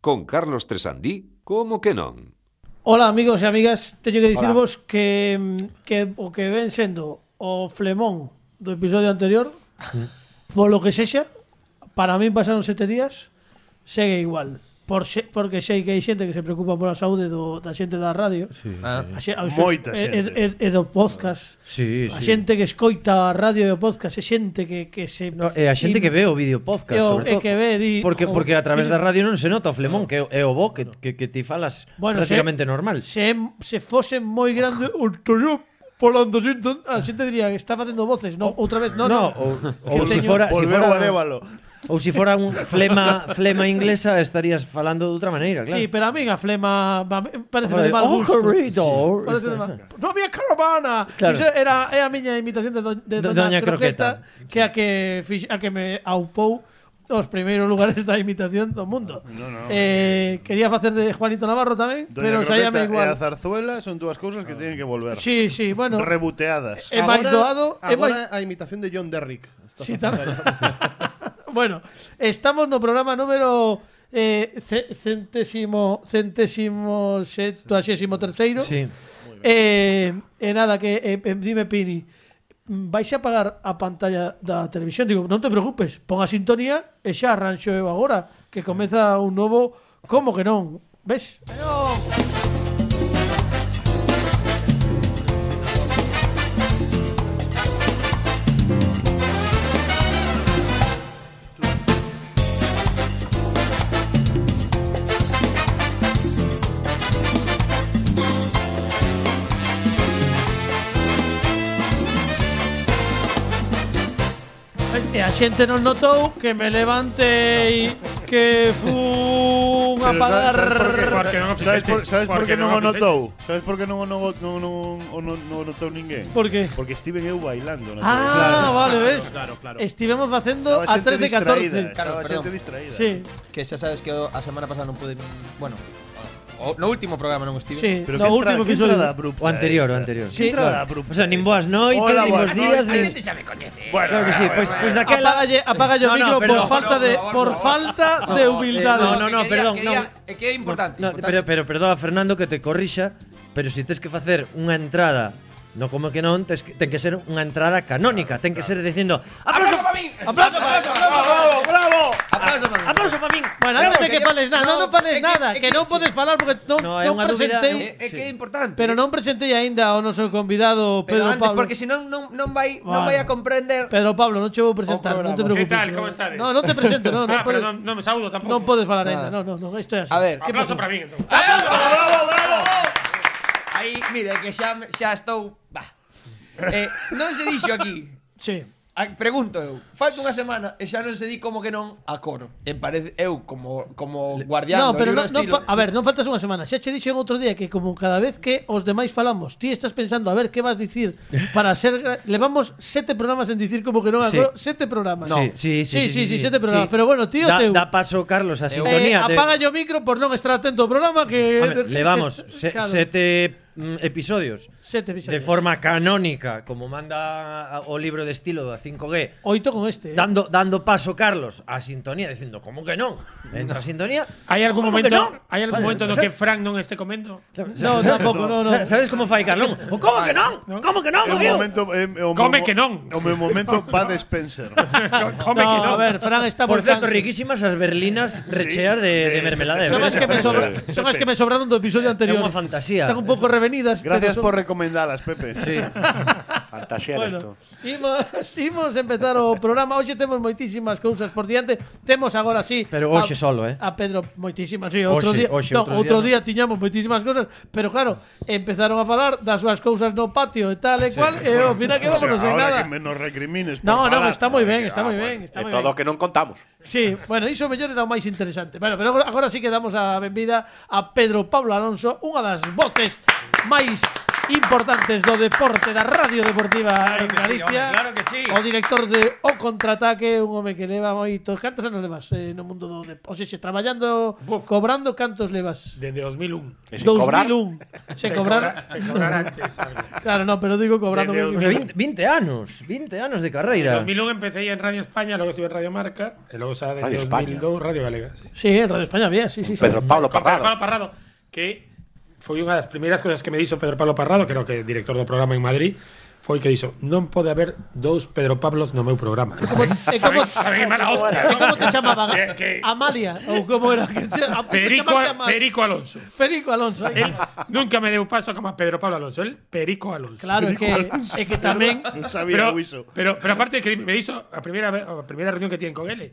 con Carlos Tresandí, como que non? Ola amigos e amigas, teño que dicirvos que, que o que ven sendo o flemón do episodio anterior, polo que sexa, para min pasaron sete días, segue igual. Por xe, porque sei que hai xente que se preocupa pola saúde do, da xente da radio, sí, Ah, a xe, aos Moita e, xente. e, e do podcast, Sí, a sí. xente que escoita a radio e o podcast, e xente que, que se... No, e a xente que ve o vídeo E podcast, o- e sobre todo. que ve, di, porque jo, porque a través que- da radio non se nota o flemón, que é o- é o bo que, que, que ti falas Bueno, prácticamente normal. Se, se fose moi grande o tuyo falando xente, a xente diría que está facendo voces, no, outra vez, no, no. ou, Que ou eu si teño- fora, si Volveu fora a Arévalo. ou si fora un flema flema inglesa estarías falando de outra maneira, claro. Sí, pero a min a flema va- parece de Fala de, mal "Oh, gusto. corredor". Parece de mal- No había caravana. este, Claro. Iso era é a miña imitación de, do, de Do- Doña, Doña Croqueta, Croqueta. que a que fix- a que me aupou os primeiros lugares da imitación do mundo. No, no. Eh, quería facer de Juanito Navarro tamén, Doña pero saíame Croqueta igual. e a zarzuela son dúas cousas Ah. que teñen que volver. Sí, sí, bueno. Rebuteadas. É máis doado, é máis- agora a imitación de John Derrick. Sí, tam- bueno, estamos no programa número eh, ce- centésimo, centésimo, setuaxésimo terceiro. Sí. Eh, e nada, que eh, eh, dime, Pini, vais a apagar a pantalla da televisión? Digo, non te preocupes, pon a sintonía e xa arranxo eu agora, que comeza un novo, como que non, ves? E a xente non notou que me levantei que fun a Pero sabes- pagar... sabes por qué? Porque non o Sabes por, fixeches. sabes por que Porque non o non o fixeches. notou? Sabes por que non o non o- non- non- o non- non o notou ninguén? Por que? Porque estive eu bailando na Ah, vale, claro, ves. claro, claro. Estivemos facendo televisión. a Estaba xente 13 distraída, 14. Estaba Claro, xente perdón. distraída. Sí, Que xa sabes que o- a semana pasada non pude Bueno, o, no último programa non estive sí. Pero No que último entrada- que entrada episodio. abrupta O anterior, o esta. anterior. Sí, Que entrada claro. abrupta O sea, nin esta. boas noites, Hola, nin boas bos días, A nin... xente xa me ¿eh? coñece Bueno, Claro que Ah, sí, bueno, pois bueno. pois daquela Apágalle, apágalle o No, no, micro pero- por falta de Por por favor, por favor. falta de humildade. no, no, no, eh, que perdón, quería- non. quería- É que é importante, No, importante. pero, pero perdoa Fernando que te corrixa, pero si tens que facer unha entrada No como que non, tes que, ten que ser unha entrada canónica, ten que ser dicindo Aplauso aplauso, para min. aplauso, aplauso, ¡Bravo, bravo! aplauso para min. aplauso para min. Bueno, antes de que Claro, fales nada, no, no, non fales é que- nada, é que que- non podes falar porque non, No, é non unha dúbida, presentei, é- É, é que é importante. pero non presentei aínda ao noso convidado Pedro Pero antes, Pablo. porque senón non non vai non Bueno. vai a comprender. Pedro Pablo, non che vou presentar, O non te programa. preocupes. Que tal, como estades? No, non te presento, no, non Ah, pero podes, non, non me saúdo tampouco. non podes falar aínda. Nada. No, no, no, isto é así. A ver, que Aplauso pasou? para min, entón. Aí, mira, que xa me- xa estou, bah. Eh, non se dixo aquí. Sí. A- Pregunto eu, falta unha semana e xa non se di como que non a coro. E parece eu como como guardián No, do pero non, libro de non fa- estilo. a ver, non faltas unha semana. Xa che dixen outro día que como cada vez que os demais falamos, ti estás pensando a ver que vas dicir para ser gra- levamos sete programas en dicir como que non Sí. agro, sete programas. No. Sí, sí, sí, sí, sí, sí. sete programas, Sí. pero bueno, tío da, teu. da paso Carlos a eh, sintonía de- apaga yo o micro por non estar atento ao programa que A ver, levamos se, Claro, sete mm, episodios sete de episodios. forma canónica, como manda a- o libro de estilo da 5G, oito con este. eh. dando dando paso Carlos a sintonía dicindo como que non. Entra a sintonía. Hai algún "Como que momento, non?". hai algún Vale, momento do sa- que Frank non este comendo? No, tampouco, no, no. sa- Sabes como fai Carlón? "O como que non? No. Como que non? É un amigo?". momento, em, é, é un Come momo- que non. É un momento Bud Spencer. Come que No, a non. ver, Fran está Por cierto, volcándose. riquísimas as berlinas recheas de, de eh, mermelada. de Son as que me fresa. sobra- son as que me sobraron do episodio anterior. unha fantasía. Están un pouco revenidas. pero Gracias son- por recomendalas, Pepe. Sí. Fantasía Bueno, esto. imos, imos empezar o programa Hoxe temos moitísimas cousas por diante Temos agora sí Pero hoxe a- solo, eh. A Pedro, moitísimas, sí, outro Hoxe, día hoxe, no, Outro outro día día tiñamos moitísimas cousas Pero claro, empezaron a falar das súas cousas no patio e tal e cual E ao final O sea, quedámonos en ahora nada que me nos recrimines. por No, no, falar. está moi ben, está moi ben, está E moi todo o ben. que non contamos. Sí, bueno, iso mellor era o máis interesante. Bueno, pero agora, agora sí que damos a benvida a Pedro Pablo Alonso, unha das voces máis importantes do deporte da Radio Deportiva Claro en que sí, Galicia. home, claro que sí. O director de O Contraataque, un home que leva moitos cantos anos levas eh, no mundo do deporte. O sexe, traballando, Buf. cobrando cantos levas. Desde 2001. E sin cobrar. 2001. Se cobrar. Se cobrará antes algo. Claro, no, pero digo cobrando Desde moi Pois bien. 20, 20 anos, 20 anos de En carreira. 2001 empecé ya en Radio España, luego estuve en Radio Marca, y luego xa Radio desde España. 2002 Radio Galega. Sí. Sí, en Radio España había, sí, sí. sí. Pedro Pablo Con Pedro Parrado. Pablo Parrado, que foi unha das primeiras cousas que me dixo Pedro Pablo Parrado, creo que director do programa en Madrid, foi que dixo, non pode haber dous Pedro Pablos no meu programa. Como, e como, Sabe que mala hostia, e ¿no? como te chamaba? Que- que- Amalia, ou como era que se a- Perico, chamarte Amalia. Perico Alonso. Perico Alonso. ¿eh? ahí. Él nunca me deu paso como a Pedro Pablo Alonso, el Perico Alonso. Claro, é que, é que tamén Non sabía o pero, iso. pero, pero aparte que me dixo a primeira ve- a primeira reunión que tienen con él,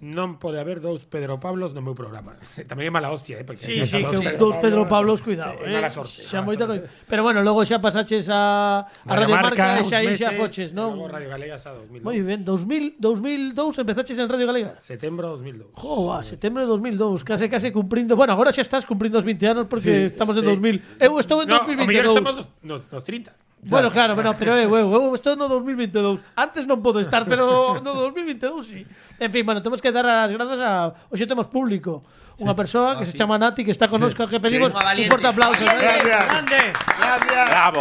non pode haber dous Pedro Pablos no meu programa. Tamén é mala hostia, eh, porque Sí, hai sí, dous que dous Pedro Pablos, cuidado. é Eh, mala sorte. xa mala moita sorte. coi- Pero bueno, logo xa pasaches a, a Radio Marca, e uns xa aí xa meses, foches, e non? logo Radio Galega xa 2002. Moi ben, 2000, 2002 empezaches en Radio Galega. Setembro 2002. Jo, a setembro de 2002, case case cumprindo. Bueno, agora xa estás cumprindo os 20 anos porque Sí, estamos en 2000. sí. Eu estou en No, o 2022. mellor estamos nos, nos, nos 30. Bueno, claro, bueno, pero eu, eu, eu estou no 2022. Antes non podo estar, pero no 2022 sí. En fin, bueno, temos que dar as grazas a hoxe temos público. Unha persoa Ah, que se chama Nati que está connosco, que pedimos un Unha valiente. forte aplauso. ¿eh? Valiente. Nati. Grande, Bravo.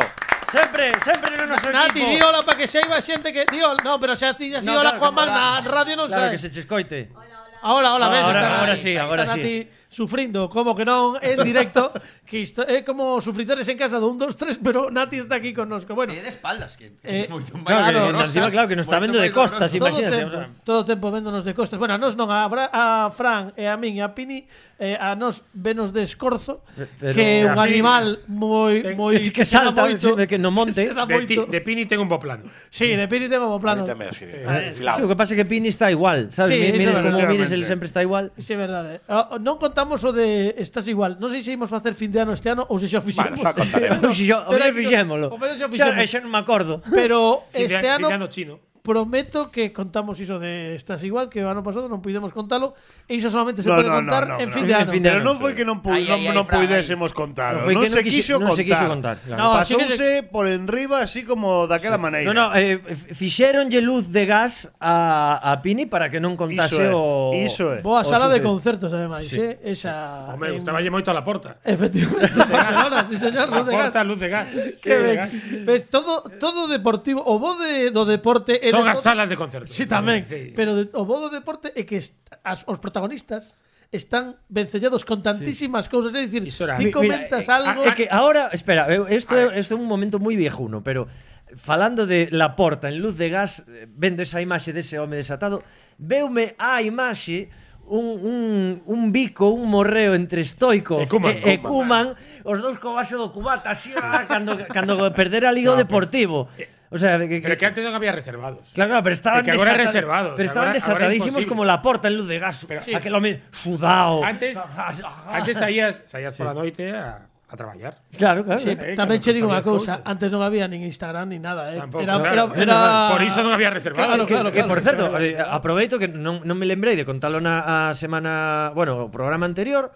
sempre, sempre no noso Nati, di equipo. hola para que saiba xente que... Di hola, no, pero xa si xa si No, hola claro que Juan Mal no. na radio non sabe. Claro que se che escoite. Ahora, ahora, ves, Ahora- está Nati- ahora sí, está ahora sí. Nati sufrindo, como que non, en directo, que isto é como sufridores en casa do 1, 2, 3, pero Nati está aquí connosco. Bueno, É de espaldas, que, que Eh, é moito máis claro, dolorosa. que en encima, claro, que nos está Moito vendo de máis costas, dolorosa. todo o imagínate, tempo, o sea. todo o tempo véndonos de costas. Bueno, a nos non a, Bra- a Fran e a min e a Pini, eh, a nos venos de escorzo, pero- que é un A Pini- animal moi Ten- moi que sí que salta, encima que no monte. Que se da De, ti, moito. de Pini tengo un bo plano. Sí, de Pini ten como plano. Ahorita me así, Eh, Sí, Lo Filao. que pasa é que Pini está igual, sabes? Sí, eso Mi- mires es como verdad. mires, ele sempre está igual. Sí, é verdade. Ah, Non contamos o de estás igual. Non sei se imos facer fin de ano este ano ou se xa o fixemos. Bueno, xa contaremos. Ou si yo, o Pero mellor hai que- fixémolo. o mellor xa Xa- fixémolo. Xa non me acordo. Pero este Este ano chino. prometo que contamos iso de estás igual que o ano pasado non pudemos contalo e iso solamente se No, pode no, no, contar no, en no. fin de En ano. fin de Pero ano. non foi que non, pu Ai, non, ai, ai, non Fran, puidésemos contarlo. No foi Non que non se quixo- quixo non contar. se quixo contar, claro. No, sí que Pasouse por enriba así como daquela maneira. No, no, eh, f- fixéronlle luz de gas a, a Pini para que non contase Iso é, o... iso é. Boa o sala de suceso. concertos, ademais, eh? Esa... en- Home, gustaba lle moito a la porta. Efectivamente, Barcelona, sí, A señor, luz de gas. porta, luz de gas. Que Luz de ben. gas. Ves, todo, todo deportivo, o bo de, do deporte... é Son de as to- salas de concertos. Sí, tamén, Sí. pero de, o bo do deporte é que est, as, os protagonistas están vencellados con tantísimas cousas, é dicir, Iso era- ti Mi- mira, comentas eh, algo... É que ahora, espera, eu- esto é esto é un momento moi viejuno, pero falando de la porta en luz de gas, eh, vendo esa imaxe dese home desatado, veume a imaxe un, un, un bico, un morreo entre estoico E Koeman, e, e Kuman, os dous co vaso do cubata, así, ah, cando, cando perdera a Liga o Deportivo. O sea, que, eh, Pero que antes non había reservados. Claro, claro, pero estaban, E que agora é desata- reservado, o pero sea, estaban agora- agora é desatadísimos como imposible. la porta en luz de gas. Pero- Sí. Aquel home sudao. Antes, antes saías, saías pola noite a, a traballar. Claro, claro. Sí, Eh, tamén cando che digo unha sabías cousa, cousas. antes non había nin Instagram nin nada, eh. Tampouco, era, era, claro. era... Por iso non había reservados. Claro, que, claro, que, claro. por certo, eh, aproveito que non, non me lembrei de contalo na a semana, bueno, o programa anterior.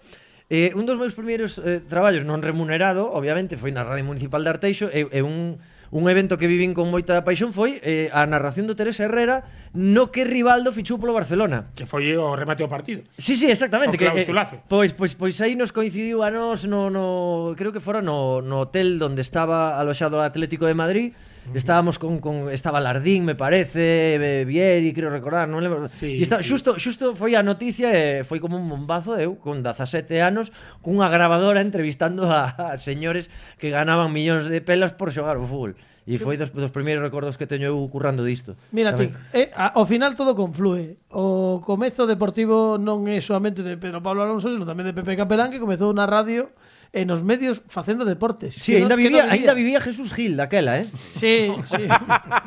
Eh, un dos meus primeiros eh, traballos non remunerado, obviamente, foi na Radio Municipal de Arteixo e, e un, un evento que vivín con moita paixón foi eh, a narración do Teresa Herrera no que Rivaldo fichou polo Barcelona. Que foi o remate do partido. Sí, sí, exactamente. O Que, eh, clausulazo. pois, pois, pois aí nos coincidiu a nos no, no, creo que fora no, no hotel onde estaba aloxado o Atlético de Madrid. Estábamos con, con estaba Lardín, me parece, eh, Vieri, creo recordar, non lembro. Sí, e está, sí. xusto, xusto foi a noticia e foi como un bombazo eu con 17 anos cunha grabadora entrevistando a, a señores que ganaban millóns de pelas por xogar ao fútbol. E foi dos, dos primeiros recordos que teño eu currando disto. Mira ti, Tamén. eh, a- ao final todo conflúe. O comezo deportivo non é solamente de Pedro Pablo Alonso, sino tamén de Pepe Capelán que comezou na radio e nos medios facendo deportes. Sí, Que ainda non- que vivía, non diría? ainda vivía Jesús Gil daquela, eh? Sí, sí.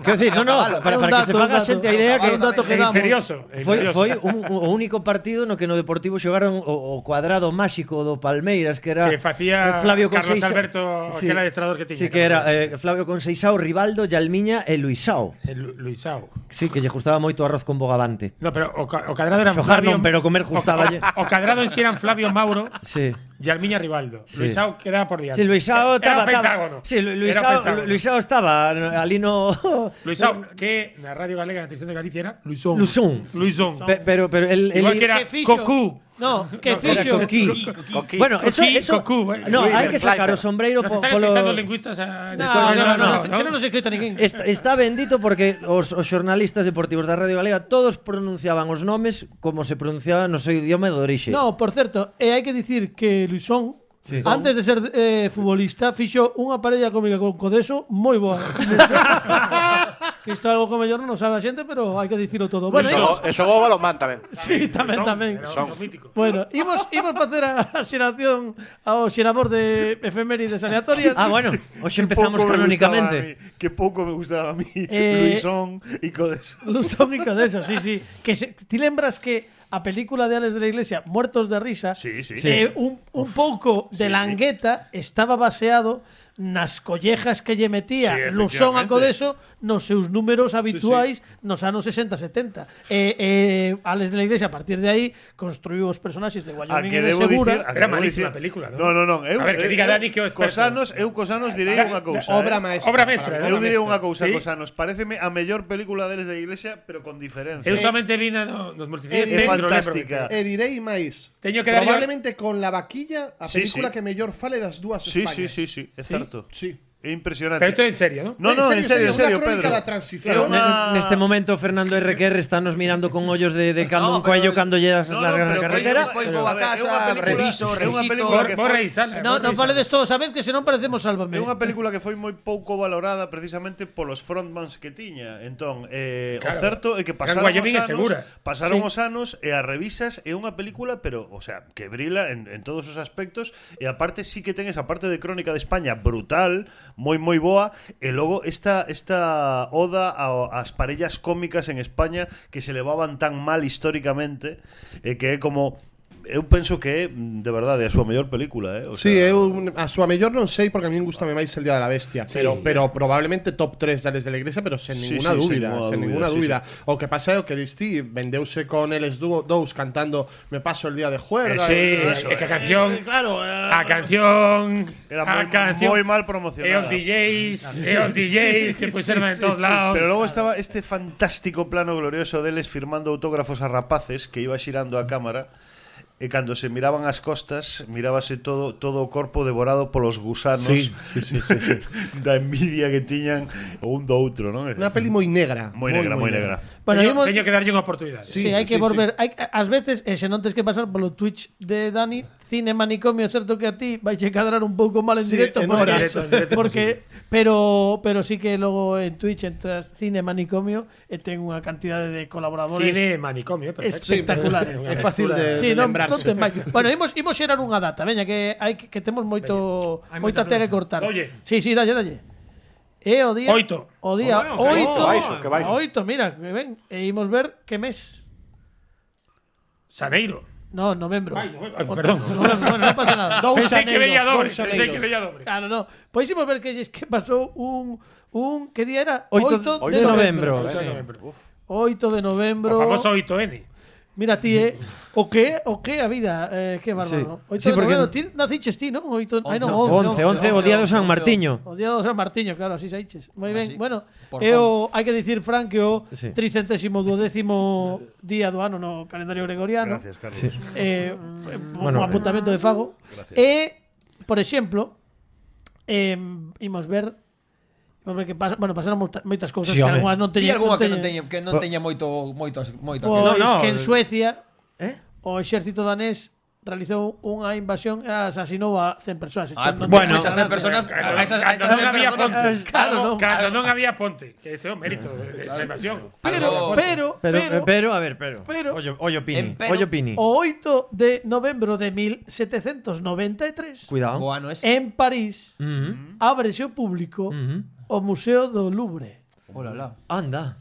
Quero dicir, no, no, Cabalo, é para, un para que dato, se faga un a xente a dato. idea que É un dato que É damos. imperioso. é foi, imperioso. foi un, o único partido no que no Deportivo xogaron o, o cuadrado máxico do Palmeiras que era Que eh, facía Flavio Carlos Conceição. Alberto, aquel adestrador que tiña, Sí, que que era non eh, Flavio Conceição, Rivaldo, Yalmiña e Luisao. El Lu- Luisao. Sí, que lle gustaba moito o arroz con bogavante. No, pero o, ca- o cadrado era Xogar Flavio. non, pero comer o, ca- gustaballe. o cadrado en si eran Flavio Mauro Sí. Yalmiña Rivaldo. Sí. Luisao quedaba por diante. Sí, Luisao estaba. Era pentágono. estaba- Sí, Lu- Era Luisao, pentágono. Luisao estaba. no, Ali no. Luisao, que en la radio galega, en la televisión de Galicia era Luisón. Luisón. Luisón. Pe- Pero, pero él. él- Igual que era ¿Qué fixo? Cocú. No, que No, era fixo. Coquí. Coquí. Bueno, eso. Coquí, eso Cocú, eh. no, hay River que sacar Clyde. o sombreiro Nos por están escritando lingüistas a... No, no, no, no, no, se- se non nos escrito ninguén. Está, está bendito porque os, os xornalistas deportivos da Radio Galega todos pronunciaban os nomes como se pronunciaba no seu idioma de orixe. No, por certo, e hai que dicir que Luisón Sí. Antes de ser eh, futbolista, fixo unha parella cómica con Codeso moi boa. que isto é algo que mellor non sabe a xente, pero hai que dicirlo todo. Bueno, Eso, imos, eso vos balonmán tamén. sí, tamén, tamén. Son mítico. Bueno, imos, imos facer a, a xeración ao xerador de efemérides aleatorias. Ah, bueno, hoxe empezamos Poco me canónicamente. gustaba a mí, Que poco me gustaba a mí. Eh, Luisón y Codes. Luisón y Codeso, sí, sí. Que se, ti lembras que a película de Alex de la Iglesia, Muertos de Risa, Sí, sí. eh, un, un pouco de sí. langueta estaba baseado nas collejas que lle metía Sí, Lusón a efectivamente. Codeso nos seus números habituais nos anos 60-70. E, e Alex de la Iglesia, a partir de aí, construiu os personaxes de A Wyoming que e de debo Segura. dicir, a que Era debo malísima dicir- película, ¿no? No, no, non, eu A ver, que eu- diga eu- Dani que é o experto. Cosanos, eu Cosanos direi unha cousa. Obra eh. maestra. Obra maestra. Eu direi unha cousa, Sí. Cosanos, pareceme a mellor película deles da Iglesia, pero con diferencia. Eu solamente vi no, nos multicines É dentro, fantástica. lembro. E direi máis. Teño que darlle- Probablemente con la vaquilla a Sí, película sí. que mellor fale das dúas Sí, sí, Españas. sí, sí, é certo. Sí. É impresionante. Pero esto en serio, ¿no? No, En no, serio, en serio, en serio, una crónica Pedro. da transición. É Ne- unha- Neste este momento Fernando RQR estános mirando con ollos de, de cando No, un cuello pero- cando llegas No, la, no, la pero carretera. despois pero- vou a ver, é casa, unha película- reviso, é unha revisito. película Bor- que Borra foi- y sala. No, borra non y fale sala. desto, sabes que se non parecemos É Sálvame. unha película que foi moi pouco valorada precisamente polos frontmans que tiña. Entón, eh, Claro. o certo é que Gran pasaron os Wyoming anos, é segura. Sí. pasaron os anos e as revisas é unha película, pero, o sea, que brila en, en todos os aspectos e aparte sí que ten esa parte de Crónica de España brutal, moi moi boa, e logo esta esta oda ao- ás parellas cómicas en España que se levaban tan mal históricamente e que é como Eu penso que é, mm, de verdade, a súa mellor película, eh? O Sí, eu a súa mellor non sei porque a min gustame máis el Día da Bestia, pero pero probablemente top 3 dales de la Iglesia, pero sen ninguna Sí, sí, sen dúbida, sen ninguna dúbida, ninguna sí, dúbida. O que pasa é o que distí, vendeuse con eles dúo- dous cantando Me paso el día de juerga. Eh, sí, e todo eh, eso, é que a eh, canción- eh, Claro, eh, A canción. Era a moi, Ah, canción. moi mal E os promocionada. DJs, e os DJs que pusieron en todos lados. Pero logo estaba este fantástico plano glorioso deles firmando autógrafos a rapaces que iba xirando a cámara e cando se miraban as costas mirábase todo todo o corpo devorado polos gusanos sí, sí, sí, sí, sí. da envidia que tiñan o un do outro, non? Una peli moi negra. moi negra, moi negra. Bueno, teño, imos- teño que darlle unha oportunidade. Sí, hai que volver. Hai, ás veces, e se non tens que pasar polo Twitch de Dani, Cine Manicomio, é certo que a ti vai che cadrar un pouco mal en Sí, directo en porque, horas. En directo, en directo porque pero pero sí que logo en Twitch entras Cine Manicomio e ten unha cantidade de colaboradores Cine manicomio, perfecto. espectaculares. É fácil de, de Sí, non, non lembrarse. ten máis. Bueno, imos, imos xerar unha data, veña, que hai que, que temos moito Hai moita moita tela que cortar. Oye. Sí, sí, dalle, dalle. É o día Oito. O día Bueno, que oito. baixo, que baixo. Oito, mira, que ven, e imos ver que mes. Saneiro. No, novembro. Ai, novembro. Ai, perdón. Novembro, bueno, non pasa nada. Dous Pensei que aneiros, veía dobre, dous pensei que aneiros. veía dobre. Claro, no. Pois imos ver que, lles- que pasou un un que día era Oito- 8, oito de de novembro. eh. novembro. Oito de sí. 8 de novembro. novembro. Uf. O famoso 8N. Mira ti, eh, o que o que a vida, eh, que bárbaro. Sí. ¿no? 8 de Sí, porque- novembro, ti naciches ti, ¿no? 8, ay, no, 11, 11, o día do San once, Martiño. O día do San Martiño, claro, así saiches. Moi ben. Así, Bueno, por é o, hai que dicir, Fran, que o Sí. tricentésimo duodécimo día do ano no calendario gregoriano. Gracias, Carlos. Sí. eh, bueno, Bueno. apuntamento de Fago. E, por exemplo, eh, imos ver Vamos ver que pasa, bueno, pasaron moita- moitas cousas que Sí, home. algunhas non Di teñen, algunha que non teña, que non teña moito, moito, moito. Pois No, aquel. no, que en eh, Suecia Eh? o exército danés realizou unha invasión e asasinou a 100 persoas. Ah, Entón, non bueno, ten esas gracia. 100 personas, a esas, a estas Cando non 100 había personas, ponte. Claro, non. Cando non había ponte. Que ese é o mérito de de esa invasión. Pero, pero, Pero, pero, eh, pero, a ver, pero. pero- ollo, ollo Pini. Empero- ollo Pini. o 8 de novembro de 1793 Cuidado. o ano ese. en París Mhm, ábrese ao público mhm. o Museo do Louvre. Ola, ola. Anda.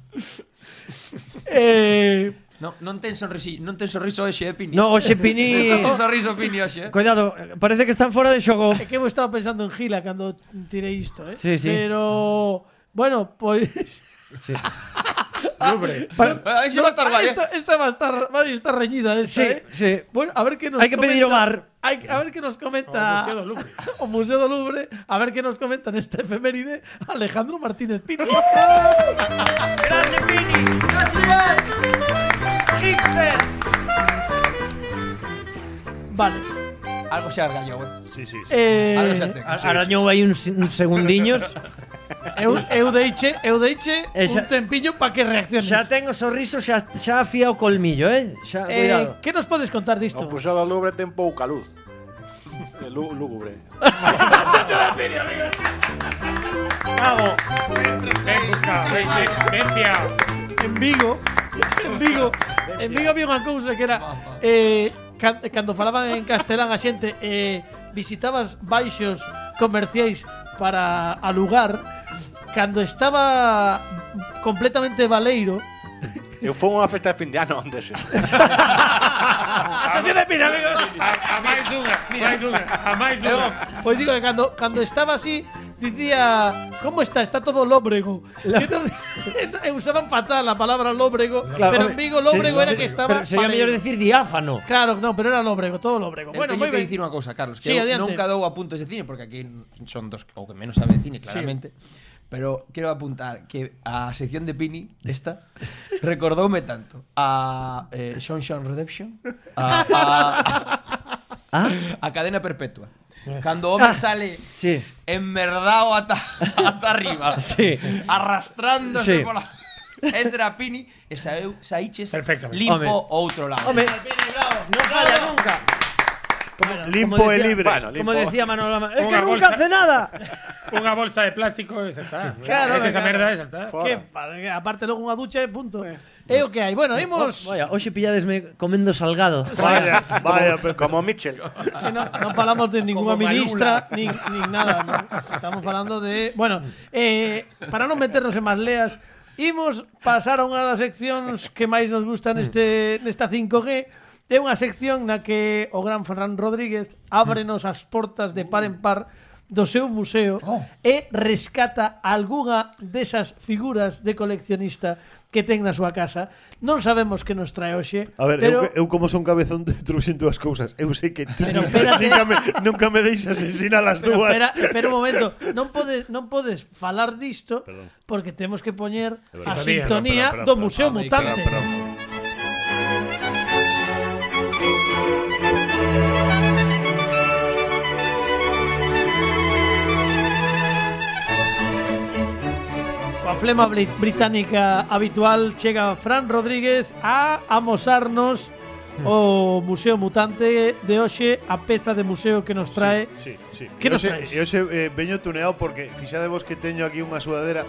Eh, Non, non ten sonrisi, non ten sorriso hoxe, eh, Pini. No, oxe Pini. Non ten sorriso Pini hoxe, eh. Cuidado, eh, parece que están fora de xogo. é que eu estaba pensando en Gila cando tirei isto, eh? Sí, sí. pues, Pero bueno, pois Sí. Hombre, Bueno, ahí sí va a estar guay, ¿eh? Esta, esta Ah, va a estar, va a estar reñida. Esta, Sí, ¿eh? sí. Bueno, a ver qué nos Hay que pedir comenta- Omar. Hay, que- a ver qué nos comenta. O Museo del Louvre. o Museo del Louvre. A ver qué nos comenta en esta efeméride Alejandro Martínez Pino. ¡Grande Pini! ¡Hipster! vale. eh. Algo se argañó, güey. Sí, sí. sí. Eh, Algo se ateca. A- Arañou aí uns, uns segundiños eu, eu deixe, eu deixe Esa- un tempiño para que reacciones. Eh, Xa ten o sorriso, xa, xa afía o colmillo, eh? Xa, eh, cuidado ¿Qué nos podes contar disto? O Museo do Louvre ten pouca luz. Eh, lú- Lúgubre. Bravo. ven buscado, ven, ven, ven fiao. en Vigo, en Vigo, en Vigo había unha cousa que era eh, can- cando falaban en castelán a xente eh, visitabas baixos comerciais para alugar cando estaba completamente baleiro Eu fui a unha festa de fin de ano onde se... Ah, A, a máis dunha, máis dunha, a máis dunha. Pois Pues digo que cando, cando estaba así Dicía, como está? Está todo lóbrego. Que non- e usaban fatal a palabra lóbrego, pero en Vigo lóbrego era que estaba. Sería baleiro. mellor decir diáfano. Claro, no, pero era lóbrego, todo lóbrego. Bueno, Bueno, teño moi que ben. dicir unha cousa, Carlos, Sí, que eu adiante. nunca dou apuntes de cine porque aquí son dos o que menos sabe de cine, claramente. Pero quero apuntar que a sección de Pini desta recordoume tanto a eh, Shawshank Redemption, a, a, a, a Cadena Perpetua. Cando o home sale ¿Ah? Sí. enmerdado ata, ata arriba, Sí. arrastrándose Sí. pola... Ese era Pini e saeu, saiches Perfectamente. Home. limpo o outro lado. Home, non falla nunca. Limpo e libre. Pues Bueno, Como limpo. decía Manolo Lama, es que Unha nunca bolsa. hace nada. Unha bolsa de plástico, esa está. Claro, Mete esa claro. merda, esa está. Que, para- que aparte luego una ducha y punto. É o que hai. Bueno, imos Oh, Vaya, hoxe pilladesme comendo salgado. Vaya, vaya, Pepe. Como Mitchell. que non, non falamos de ninguna ministra nin, nin nada. non. Estamos falando de, bueno, eh, para non meternos en máis leas, imos pasar a unha das seccións que máis nos gustan neste nesta 5G. É unha sección na que o gran Ferran Rodríguez ábrenos as portas de par en par do seu museo Oh. e rescata algunha desas figuras de coleccionista que ten na súa casa. Non sabemos que nos trae hoxe, A ver, pero eu, eu como son cabezón de trouxen dúas cousas. Eu sei que tú Pero espérate. nunca me, nunca me deixas ensinar as Pero dúas. espera, espera un momento, non podes non podes falar disto porque temos que poñer a Sintonía, sintonía perdón, perdón, do perdón. Museo Ai, Mutante. Coa flema bri- británica habitual chega Fran Rodríguez a amosarnos Hmm. o Museo Mutante de hoxe, a peza de museo que nos trae. Sí, sí. Que Que nos nos traes? Eu se, eh, veño tuneado porque fixade vos que teño aquí unha sudadera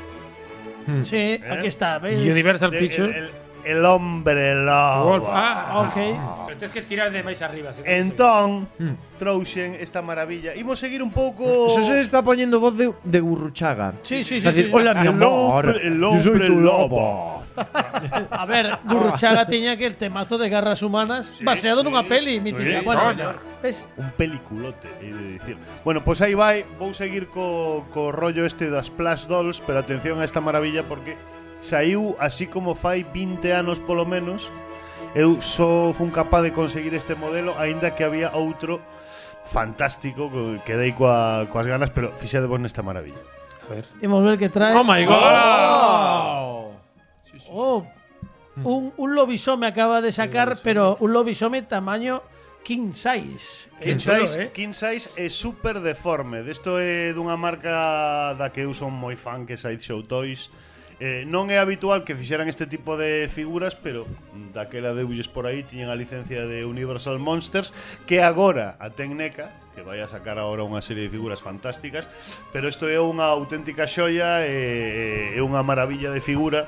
Eh? Sí, aquí está, veis? Universal de, Pictures. el, el, el hombre lobo. Wolf. Oh, Ah, Ok. Pero tens que estirar de máis arriba. si non, Entón, Hmm. trouxen esta maravilla. Imos seguir un pouco Xa se está poñendo voz de, de gurruchaga. Sí, sí, sí, Es sí. decir, hola mi El amor. hombre, el yo hombre soy tu lobo. A ver, Gurruchaga tiña que el temazo de garras humanas baseado nunha sí. peli mítica. Sí, bueno, coño. ves? un peliculote, hei de dicir. Bueno, pois aí vai, vou seguir co, co rollo este das Splash Dolls, pero atención a esta maravilla porque saiu así como fai 20 anos polo menos. Eu só fun capaz de conseguir este modelo, aínda que había outro fantástico que quedei coa, coas ganas, pero fixade vos nesta maravilla. sei. A ver. Imos ver que trae. Oh my Oh. Un, un lobisome acaba de sacar, pero un lobisome tamaño king size. King chulo, size, eh? king size é super deforme. Desto é dunha marca da que eu son moi fan, que é Sideshow Toys. Eh, non é habitual que fixeran este tipo de figuras, pero mm, daquela deulles por aí tiñen a licencia de Universal Monsters, que agora a Tecneca, que vai a sacar agora unha serie de figuras fantásticas, pero isto é unha auténtica xoia, eh, é unha maravilla de figura.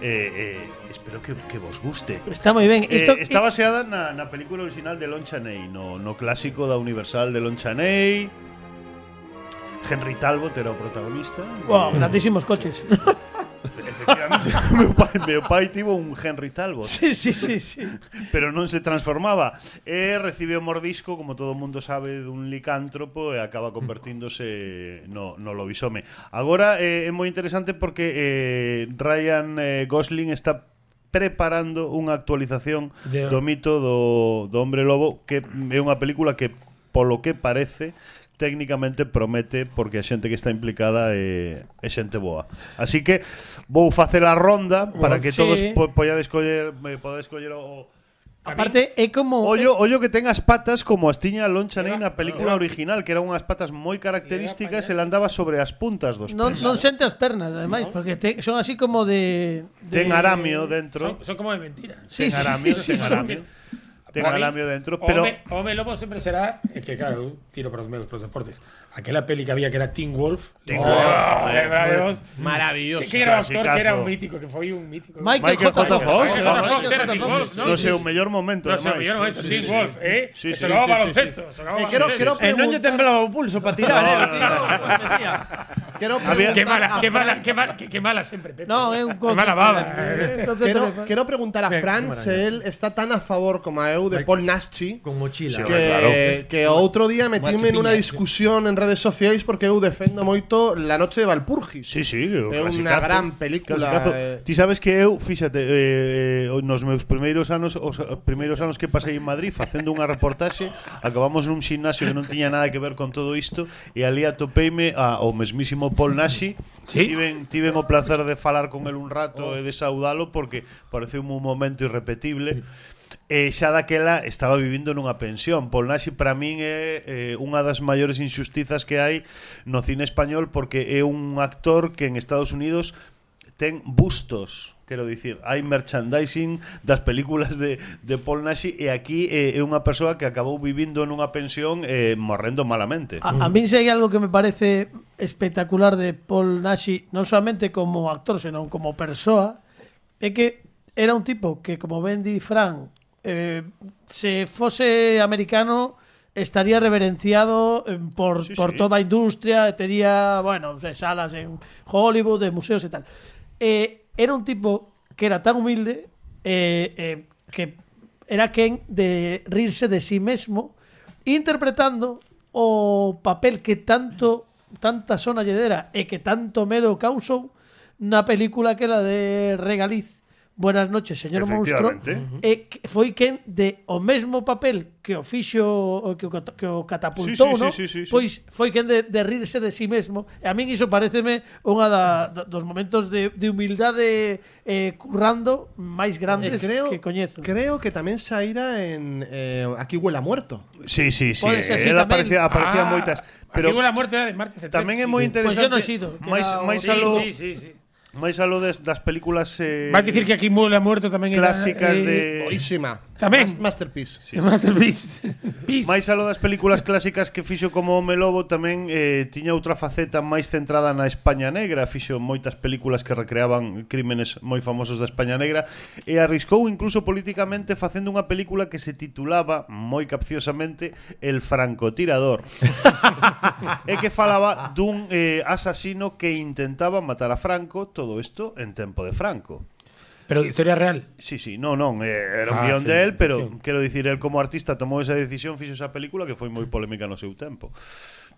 Eh, eh, espero que, que vos guste. Está moi ben. Eh, Isto está baseada na, na película original de Lon Chaney, no, no clásico da Universal de Lon Chaney. Henry Talbot era o protagonista. Wow, Eh, grandísimos coches. Efectivamente, meu pai, meu pai tivo un Henry Talbot. Sí, sí, sí, sí. pero non se transformaba. E recibe o mordisco, como todo mundo sabe, dun licántropo e acaba convertíndose no, no lobisome. Agora eh, é moi interesante porque eh, Ryan eh, Gosling está preparando unha actualización De- do mito do, do Hombre Lobo que é unha película que polo que parece técnicamente promete porque a xente que está implicada é, é xente boa. Así que vou facer a ronda para Bueno, que sí. todos po poidades coller, eh, podades coller o, Aparte, é como. Ollo, ollo que ten as patas como as tiña Lon Chaney na película original, que eran unhas patas moi características, el andaba sobre as puntas dos non, pés. non sente as pernas, ademais, porque te- son así como de. de Ten aramio dentro. Son, son como de mentira. Sí, ten aramio, sí, sí, sí. ten aramio. Ten Para mí, aramio dentro, pero Home, Home Lobo siempre será. Es que claro, eu tiro para los medios, para los deportes. Aquella peli que había que era Teen Wolf. Teen Oh, Wolf. joder, Dios. Maravilloso. Que, que era un actor clasicazo. que era un mítico, que fue un mítico. Michael, Michael J. J. Fox. Michael J. Fox era Teen Wolf, ¿no? no sei o mellor momento, No sé, ademais. yo no Sí, Teen sí, Wolf, ¿eh? Sí, que sí, se lo va sí, sí, baloncesto. se lo daba Eh, quiero- baloncesto. quiero Eh, non lle preguntar- temblaba o pulso para tirar, eh, o tío. Quiero Había- Qué preguntar mala, a qué Fran- mala, qué mala, qué, qué mala siempre, Pepe. No, é un Qué mala baba. eh. Quiero, quiero preguntar a Fran si él está tan a favor como a eu de Paul Naschi Con mochila. Sí, que, claro. que outro día metíme en Machu una Picchu. discusión en redes sociales porque eu defendo moito La noche de Valpurgis. Sí, sí, o É unha clasicazo. gran película, Clasicazo. eh. Ti sabes que eu, fíxate, eh, eh, nos meus primeiros anos, os os primeiros anos que pasei en Madrid facendo unha reportaxe, acabamos nun ximnasio que non tiña nada que ver con todo isto e ali atopeime a, ao mesmísimo Paul Nashi. Sí? Tiven, tiven o placer de falar con el un rato e de saudalo porque pareceu un momento irrepetible. E xa daquela estaba vivindo nunha pensión. Paul Nashi para min é eh, unha das maiores injustizas que hai no cine español porque é un actor que en Estados Unidos ten bustos, quero dicir, hai merchandising das películas de, de Paul Nashi e aquí eh, é unha persoa que acabou vivindo nunha pensión eh, morrendo malamente. Ah, A, a mí si hay algo que me parece espectacular de Paul Nashi, no solamente como actor, sino como persona, es que era un tipo que, como Bendy Frank, eh, se fuese americano, estaría reverenciado eh, por, Sí, por sí. toda a industria, tenía, bueno, de salas en Hollywood, de museos y tal. Eh, era un tipo que era tan humilde eh, eh, que era quien de rirse de sí mismo, interpretando o papel que tanto tanta zona lledera e que tanto medo causou na película que era de Regaliz Buenas noches, señor Monstro Efectivamente. e que foi quen de o mesmo papel que o fixo o que o, cat- que o catapultou, Sí, sí, non? sí, sí, sí, sí. Pois foi quen de, de rirse de si sí mesmo. E a min iso pareceme unha da, da, dos momentos de, de humildade eh, currando máis Eh, grandes creo, que coñezo. creo que tamén Saira en eh, Aquí huela muerto. Sí, sí, sí. Pode ser, sí, Ela tamén. aparecía, aparecía Ah, moitas, Aquí pero hubo la muerte de martes. el tamén é 13, moi sí. Pois interesante. eu non sido, que máis era o- máis Sí, alo, sí, sí, sí. máis alo des, das películas eh, Vas a decir que aquí hubo la muerte también era, clásicas eh, de Boísima. Tamén. Mas- Masterpiece. Sí, Masterpiece. Peace. máis aló das películas clásicas que fixo como Home Lobo tamén eh, tiña outra faceta máis centrada na España Negra, fixo moitas películas que recreaban crímenes moi famosos da España Negra e arriscou incluso políticamente facendo unha película que se titulaba moi capciosamente El francotirador. é que falaba dun eh, asasino que intentaba matar a Franco, todo isto en tempo de Franco. Pero historia real. Sí, sí, no, non, eh, era un Ah, guión ficción, de él, pero ficción. quero dicir, él como artista tomou esa decisión, fixo esa película que foi moi polémica no seu tempo.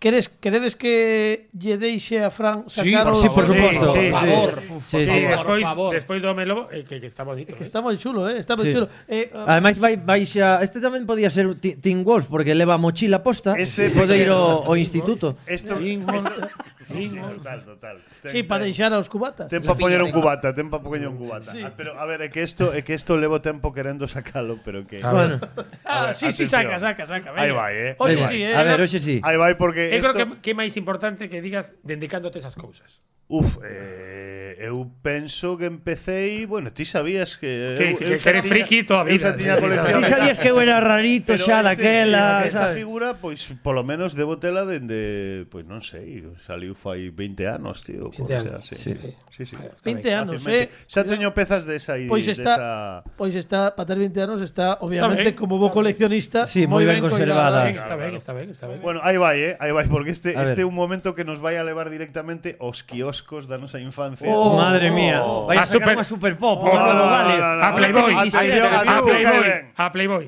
Queres, queredes que lle deixe a Fran sacar o... por por supuesto. Sí, sí, Por sí. favor, por Sí, sí, favor, despois, por favor. despois do Home Lobo, eh, que, que está bonito. Que eh. está moi chulo, eh? Está moi Sí. chulo. Eh, Ademais vai vai xa, este tamén podía ser o Ti- Tim Wolf porque leva a mochila posta Este- e pode ir ao, ao instituto. Esto, Teen Wolf. sí, sí, Teen Wolf. total, total. Ten- sí, para deixar aos cubatas. Ten pa poñer un cubata, ten pa poñer un cubata. Ah, Pero a ver, é que isto é que isto levo tempo querendo sacalo, pero que A ver. Bueno, Ah, sí, sí, atención. saca, saca, saca. Ahí vai, eh. Oxe, Ahí vai. sí, eh. a ver, hoxe sí. Aí vai porque Eu creo isto que, que é máis importante que digas dedicándote esas cousas. uf, eh, eu penso que empecei, bueno, ti sabías que eu, Sí, sí, eu que xa eres tiña- friki toda a eu xa vida. tiña Sí, sí, colección Ti sí, de sabías que eu era rarito Pero xa este- daquela, Esta ah, sabes? figura, pois, polo menos debo tela pues, dende, pois non sei, saliu fai 20 anos, tío. 20 anos, sí, sí. sí. sí, sí. 20 anos, eh. Fácilmente. Xa teño pezas desa aí, Pues Pois desa... está, pois está, para ter 20 anos está obviamente Está ben. como bo coleccionista, Sí, moi ben conservada. Está Claro, ben, está ben, está ben, está ben. Bueno, aí vai, eh, aí vai porque este A este é ver. un momento que nos vai a levar directamente aos quioscos kioscos da nosa infancia. Madre mía. Vaya a A sacar super- unha Super Pop. Oh, non no, lo no, vale. no, no. A Playboy. Atención, A atención, Playboy. Kevin. A Playboy.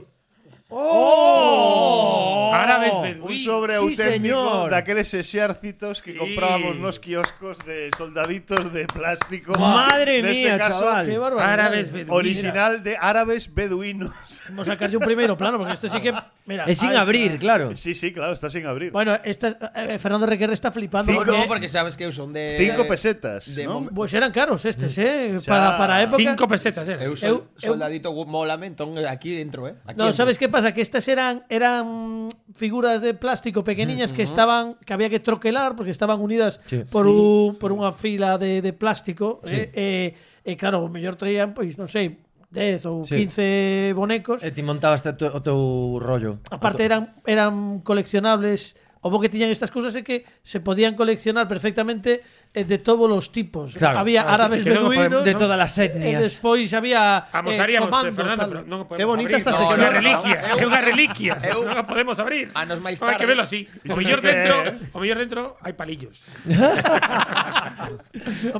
¡Oh! Ahora ves, ves, Un uy. sobre sí, auténtico señor. daqueles exércitos que Sí. comprábamos nos kioscos de soldaditos de plástico. Madre Neste mía, este caso, chaval. Qué barbaridad. Ahora ves, ves, mira. Original de árabes beduinos. Vamos a sacarle un primero plano, porque este sí que. Mira, Es sin ahí está. abrir, claro. Sí, sí, claro, está sin abrir. Bueno, esta, eh, Fernando Requerre está flipando. Cinco- porque- no, No, porque sabes que son de. Cinco pesetas, Eh, de ¿no? mom- Pues eran caros estes, eh. Xa. Para, para a época. Cinco pesetas, ¿eh? Eu, sol- Eu- eu- soldadito eu... molame, entón aquí dentro, eh. Aquí No, dentro. ¿sabes qué pasa? Que estas eran, eran figuras de plástico pequeñiñas que estaban que había que troquelar porque estaban unidas Sí. por, un, por unha fila de, de plástico. eh, eh, e claro, o mellor traían, pues, pois, non sei, 10 ou Sí. 15 bonecos. E ti montabas te- o teu rollo. Aparte eran, eran coleccionables. O bo que tiñan estas cousas é que se podían coleccionar perfectamente eh, de todos os tipos. Claro, había claro, árabes que non beduinos podemos- De todas as e etnias. despois había Vamos, eh, haríamos, comando, Fernando, tal. pero no podemos Qué bonita abrir. esta Es sección. una No, no, no. reliquia, Eu- es una reliquia. eu- No la podemos abrir. Anos máis Hay que tarde. verlo así. O mejor dentro, o mejor dentro hay palillos.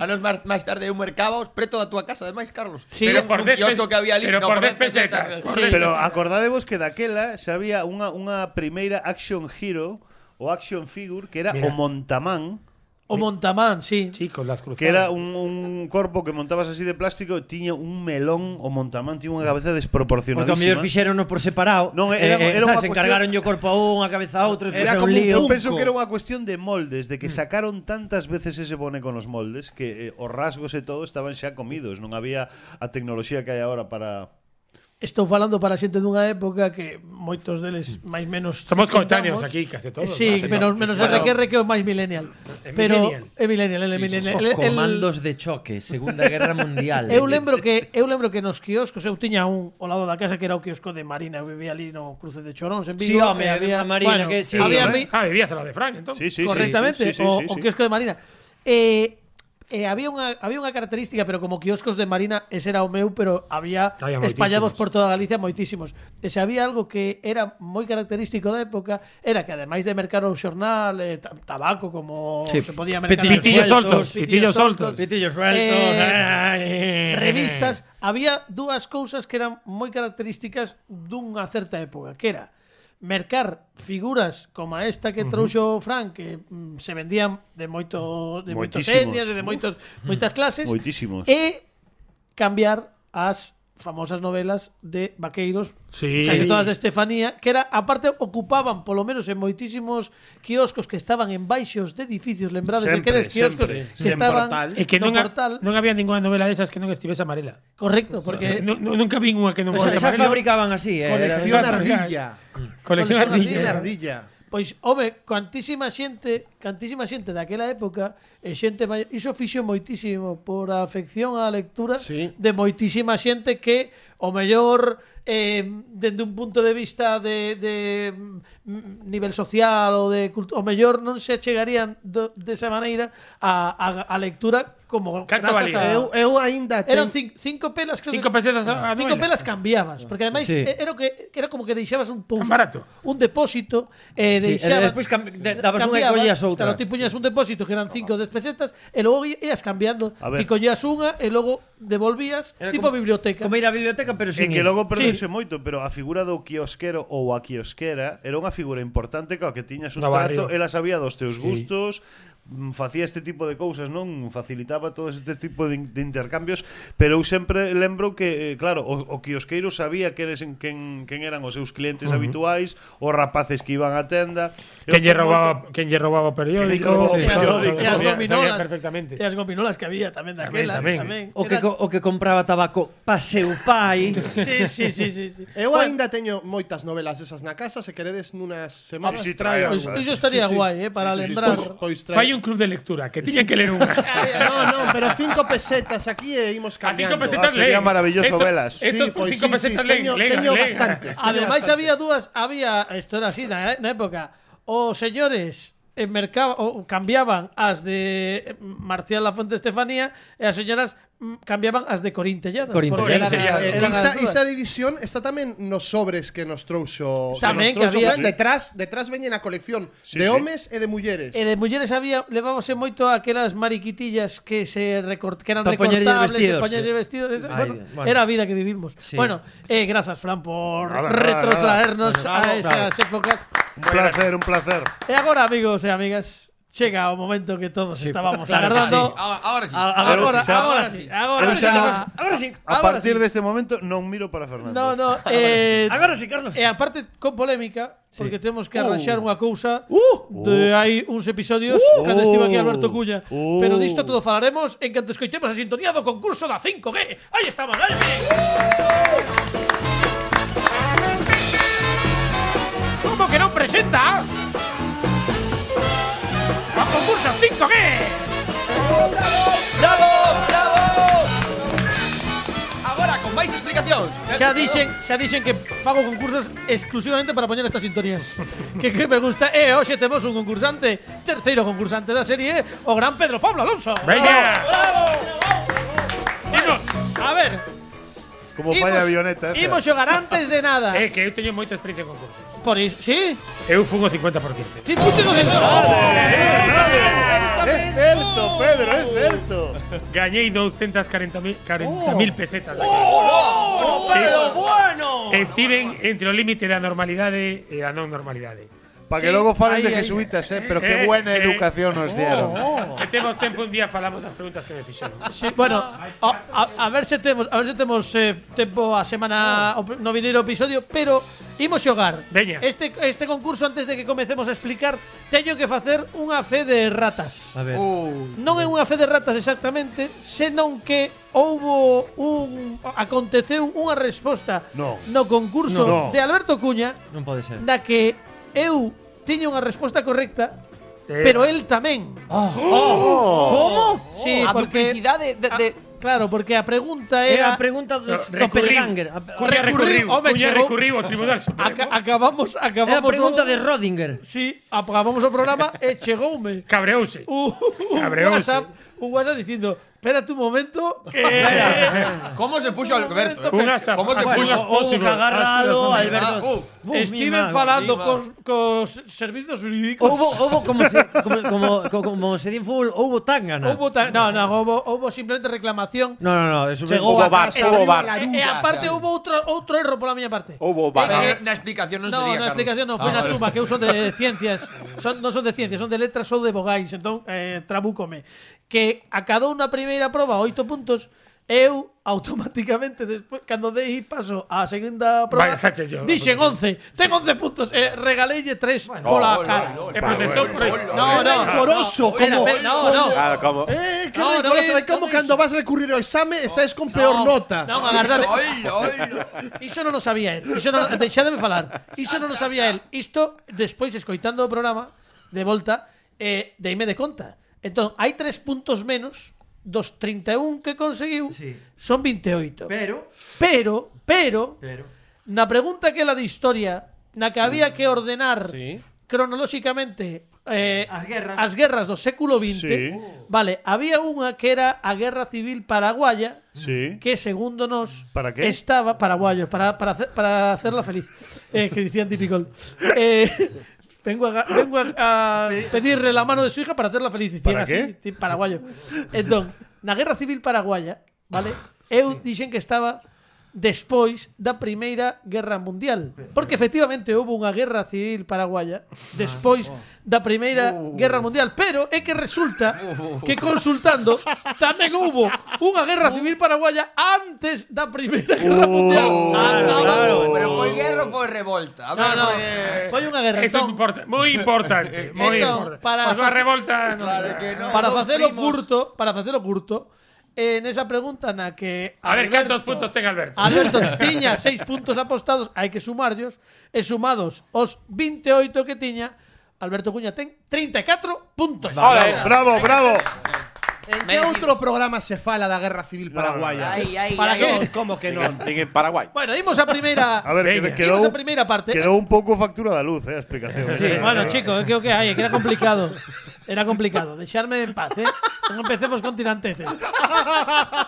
Anos máis, máis tarde eu mercaba os preto da túa casa, ademais, Carlos. Sí, Era pero por un dez kiosco pes- que había ali. pero no, por dez dez pesetas, por dez Pero acordadevos que daquela se había unha, unha primeira action hero o action figure que era o Mira. montamán, O Montamán, sí. Chicos, las cruzadas. que era un, un corpo que montabas así de plástico e tiña un melón, o montamán tiña unha cabeza Porque ao mellor desproporcionadísima. fixeron por separado. Non, era- eh, eh, era unha sabes, cuestión- encargaron o corpo a un, a cabeza a outro, e Era puxeron como un un, lío. eu Mm. penso que era unha cuestión de moldes, de que sacaron tantas veces ese boneco nos moldes que eh, os rasgos e todo estaban xa comidos, non había a tecnoloxía que hai agora para Estou falando para xente dunha época que moitos deles máis menos Somos frecuentamos. coetáneos aquí, case todos. Sí, Case menos todos. menos Bueno, RQR que é o máis millennial. Pero é millennial, é millennial. Os El- el- comandos de choque, Segunda Guerra Mundial. Eu lembro que eu lembro que nos quioscos eu tiña un ao lado da casa que era o quiosco de Marina, eu vivía ali no cruce de Choróns en Vigo. Sí, e home, había Marina que- sí, había mi- hombre. Ah, vivías a lo de Frank, entonces. Sí, sí, sí, correctamente sí, sí, sí, o, sí, o sí. quiosco de Marina. Eh, eh, había unha había unha característica, pero como quioscos de Marina, ese era o meu, pero había, Había moitísimos. espallados por toda Galicia moitísimos. E se había algo que era moi característico da época, era que ademais de mercar o xornal, eh, ta- tabaco como Sí, se podía mercar pitillos pitillos Pitillos sueltos, soltos, pitillos soltos. Eh. Pitillos Eh, Eh, sueltos. revistas, había dúas cousas que eran moi características dunha certa época, que era mercar figuras como a esta que trouxo Frank, que mm, se vendían de moito de moitas Moitísimos. etnias, e de moitos moitas clases, moitísimos. e cambiar as famosas novelas de vaqueiros Sí. casi todas de Estefanía, que era aparte ocupaban polo menos en moitísimos quioscos que estaban en baixos de edificios, lembrades Sempre, aqueles quioscos sempre. que Sen estaban portal. E que no non, ha- portal. non había ninguna novela desas que non estivese amarela. Correcto, porque No- no- nunca vi unha que non Pues fose esas amarela. fabricaban así, eh. era- Colección era- ardilla. Colección Colección Colección ardilla. ardilla. Pois, home, cantísima xente, cantísima xente daquela época e xente maior, iso fixo moitísimo por a afección á lectura Sí. de moitísima xente que o mellor eh, dende un punto de vista de, de mm, nivel social ou de cultura, o mellor non se achegarían do, desa maneira a, a, a lectura como Canto grazas valía. Eu, eu ainda Eran ten... cinco, cinco pelas, creo Cinco que- pesetas ah, a- a cinco novela. pelas cambiabas, porque ademais Sí. eh, era, o que, era como que deixabas un pouso, Tan barato. un depósito, eh, Sí, deixaba- e despois cam- de- dabas unha e cambiabas, collías outra. Claro, ti puñas un depósito que eran cinco ou 10 pesetas e logo i- ias cambiando. A ver. Ti collías unha e logo devolvías, Era tipo como- biblioteca. Como ir á biblioteca, E pero sin que ir. logo perdeuse moito, pero a figura do quiosquero ou a quiosquera era unha figura importante coa que tiñas un No trato, barrio. ela sabía dos teus Sí. gustos, mm, facía este tipo de cousas, non? Facilitaba todo este tipo de, in- de intercambios, pero eu sempre lembro que, eh, claro, o, o quiosqueiro sabía que eres en, quen, quen eran os seus clientes uh -huh. habituais, os rapaces que iban á tenda. Eu Quen lle moito- roubaba, quen lle roubaba o Quen lle roubaba o periódico. sí, E as, todo, periódico. todo, e as sabía- gominolas, sabía perfectamente. e as gominolas que había tamén daquela. tamén. O Era- que, co- o que compraba tabaco pa seu pai. Sí, sí, sí, sí, sí. Eu Bueno, ainda teño moitas novelas esas na casa, se queredes nunhas semanas Sí, sí, traio traio, Pois algunha. iso estaría Sí, sí. guai, eh, para Sí, sí, lembrar. pois- pois traio. Fai un club de lectura, que tiña que ler unha. No, no, pero cinco pesetas aquí e imos A cambiando. cinco Ah, pesetas sería leen. maravilloso Esto- velas. Estos Sí, por pois cinco sí, pesetas sí, leen. teño- legan, teño legan. bastantes. Ademais bastante. había dúas, había, isto era así na, na época, os señores eh, mercaba, ou cambiaban as de eh, Marcial Lafuente Estefanía e as señoras mm, cambiaban as de Corín Tellado. Corín porque eran Tellado. a- Eh, eran as esa, dúas. esa división está tamén nos sobres que nos trouxo Tamén, nos trouxo Pues que había- Fran. detrás detrás veñen a colección Sí, de sí. homes e de mulleres E de mulleres había levábase moito aquelas mariquitillas que se recort, que eran Pa poñerlle recortables, vestidos, e poñerlle sí. vestidos, esa- Ay, bueno, bueno. era a vida que vivimos. Sí. Bueno, eh, grazas Fran por Nada, nada, retrotraernos nada. a esas épocas. Un placer, un placer. E agora, amigos e amigas, chega o momento que todos estábamos claro que agardando. Ahora, ahora sí. A- Pero Agora, si xa- agora sí, agora Pero sí. xa nos- Ahora sí. A Ahora partir sí. de este momento non miro para Fernando. No, no, eh, Agora sí, Carlos. E aparte con polémica, porque temos que arranxar unha cousa Uh. de hai uns episodios cando estivo aquí Alberto Cuña. Uh. Pero disto todo falaremos en canto escoitemos a sintonía do concurso da 5G. Aí estamos, aí. Como que non presenta? A concurso 5G. ¡Bravo! ¡Bravo! Ahora, con máis explicacións. Xa dixen, xa dixen que fago concursos exclusivamente para poñer estas sintonías. que, que me gusta. E hoxe temos un concursante, terceiro concursante da serie, eh, o gran Pedro Pablo Alonso. ¡Venga! A ver, Como falla a avioneta. eh, imos xogar antes de nada. Eh, que eu teño moita experiencia en concursos. Por iso, sí? Eu fun o 50 por 15. Sí, fuiste con Fran. É certo, Pedro, é certo. Gañei 240.000 Oh. 40.000 pesetas. de Pero bueno. Eh, Steven entre o límite da normalidade e a non normalidade. Para que Sí, logo ahí, falen de ahí. jesuitas, eh, pero Eh, qué buena eh. educación nos dieron. Oh. Se temos tempo un día falamos das preguntas que me fixeron. Sí, bueno, a, a- a ver se temos, a ver se temos eh, tempo a semana o pr- no vindeiro episodio, pero imos xogar. Veña. Este este concurso antes de que comecemos a explicar, teño que facer unha fe de ratas. A ver. Uh, Non é unha fe de ratas exactamente, senón que houbo un aconteceu unha resposta No. no concurso No. de Alberto Cuña Non pode ser. na que eu tiña unha resposta correcta, Eh. pero el tamén. Como? Sí, a porque duplicidade de... a- de, claro, porque a pregunta era Era a pregunta do Recurriu. Doppelganger. A- Recurriu, Cuña recurriu, home, Cuña chegou. recurriu ao Tribunal Supremo. aca- acabamos Era a acabamos pregunta o- de Rodinger. Sí, acabamos o programa e chegoume Cabreouse. un, un Cabreouse. WhatsApp, un WhatsApp dicindo, espérate un momento que eh, Ah, ¿Cómo se puso Alberto? Un asa- ¿Cómo se puso? asa- Houve Bueno, que Possible. agarralo, Ah, Alberto. uh, Buf, mi Steven madre. falando mi cos, cos servizos jurídicos. Houbo, houbo como se como como como, como se di en fútbol, houbo tangana. Houbo ta- no, no, houbo, houbo simplemente reclamación. No, no, no, eso Chegou Hubo a bar, casa, hubo arriba bar. la E, lluvia. e aparte claro. houbo outro outro erro pola miña parte. Eh, Hubo Pero vaga. na explicación non No, no, sería, Carlos. explicación non, foi Ah, na vale. suma, que eu son de ciencias, son, non son de ciencias, son de letras ou de vogais, entón eh, trabúcome. Que acadou na primeira proba oito puntos, eu automáticamente despois cando dei paso á segunda proba, Vai, Sánchez, yo. dixen 11, ten 11 puntos, eh, regaleille 3 pola Ol, cara. Eh, ol, E protestou por iso. No, no, Rencoroso, no, espera, como- espera, no, no. Ah, como. Eh, que No, no, no rencoroso, es- é como no cando es- vas recurrir ao exame e saes con peor nota. Non, agardade. Oilo, oilo. Iso non o sabía el. Iso non, deixádeme falar. Iso non o sabía el. Isto, despois, escoitando o programa, de volta, eh, deime de conta. Entón, hai tres puntos menos dos 31 que conseguiu, Sí. son 28. Pero Pero, pero, pero na pregunta que era de historia, na que había que ordenar Sí. cronolóxicamente eh, As guerras. as guerras do século XX, Sí. vale, había unha que era a Guerra Civil Paraguaya, Sí. que segundo nos ¿Para qué? estaba paraguayo para, para, hacer- para hacerla feliz Eh, que decían típico Eh, vengo, a, ga- vengo a, a pedirle la mano de su hija para hacerla feliz decían ¿Para así, qué? ti- paraguayo entón na guerra civil paraguaya vale eu dixen que estaba despois da Primeira Guerra Mundial porque efectivamente houve unha guerra civil paraguaya despois da Primeira Guerra Mundial pero é que resulta que consultando tamén houbo unha guerra civil paraguaya antes da Primeira Guerra Mundial Claro, pero foi guerra ou foi revolta? A Ah, no, ver, pues, no, porque- foi unha guerra Eso é entón, importa, moi importante, moi Entón, importante. para- Para a revolta. non. Claro que no. para dos facelo primos. curto, para facelo curto, en esa pregunta na que A ver cantos puntos ten Alberto. Alberto tiña 6 puntos apostados, hai que sumarlos, e sumados os 28 que tiña, Alberto Cuña ten 34 puntos. Bravo, bravo, bravo. En Me que digo- outro programa se fala da Guerra Civil Paraguaia? Ai, ai, Para ai, que? No, como que non? En, en Paraguay. Bueno, dimos a primeira. A ver, Veña. que- quedou, Imos a primeira parte. quedou un pouco factura da luz, eh, a explicación. Sí, bueno, chicos, creo que hay, que era complicado. Era complicado. Deixarme en paz, ¿eh? Non empecemos con tiranteces.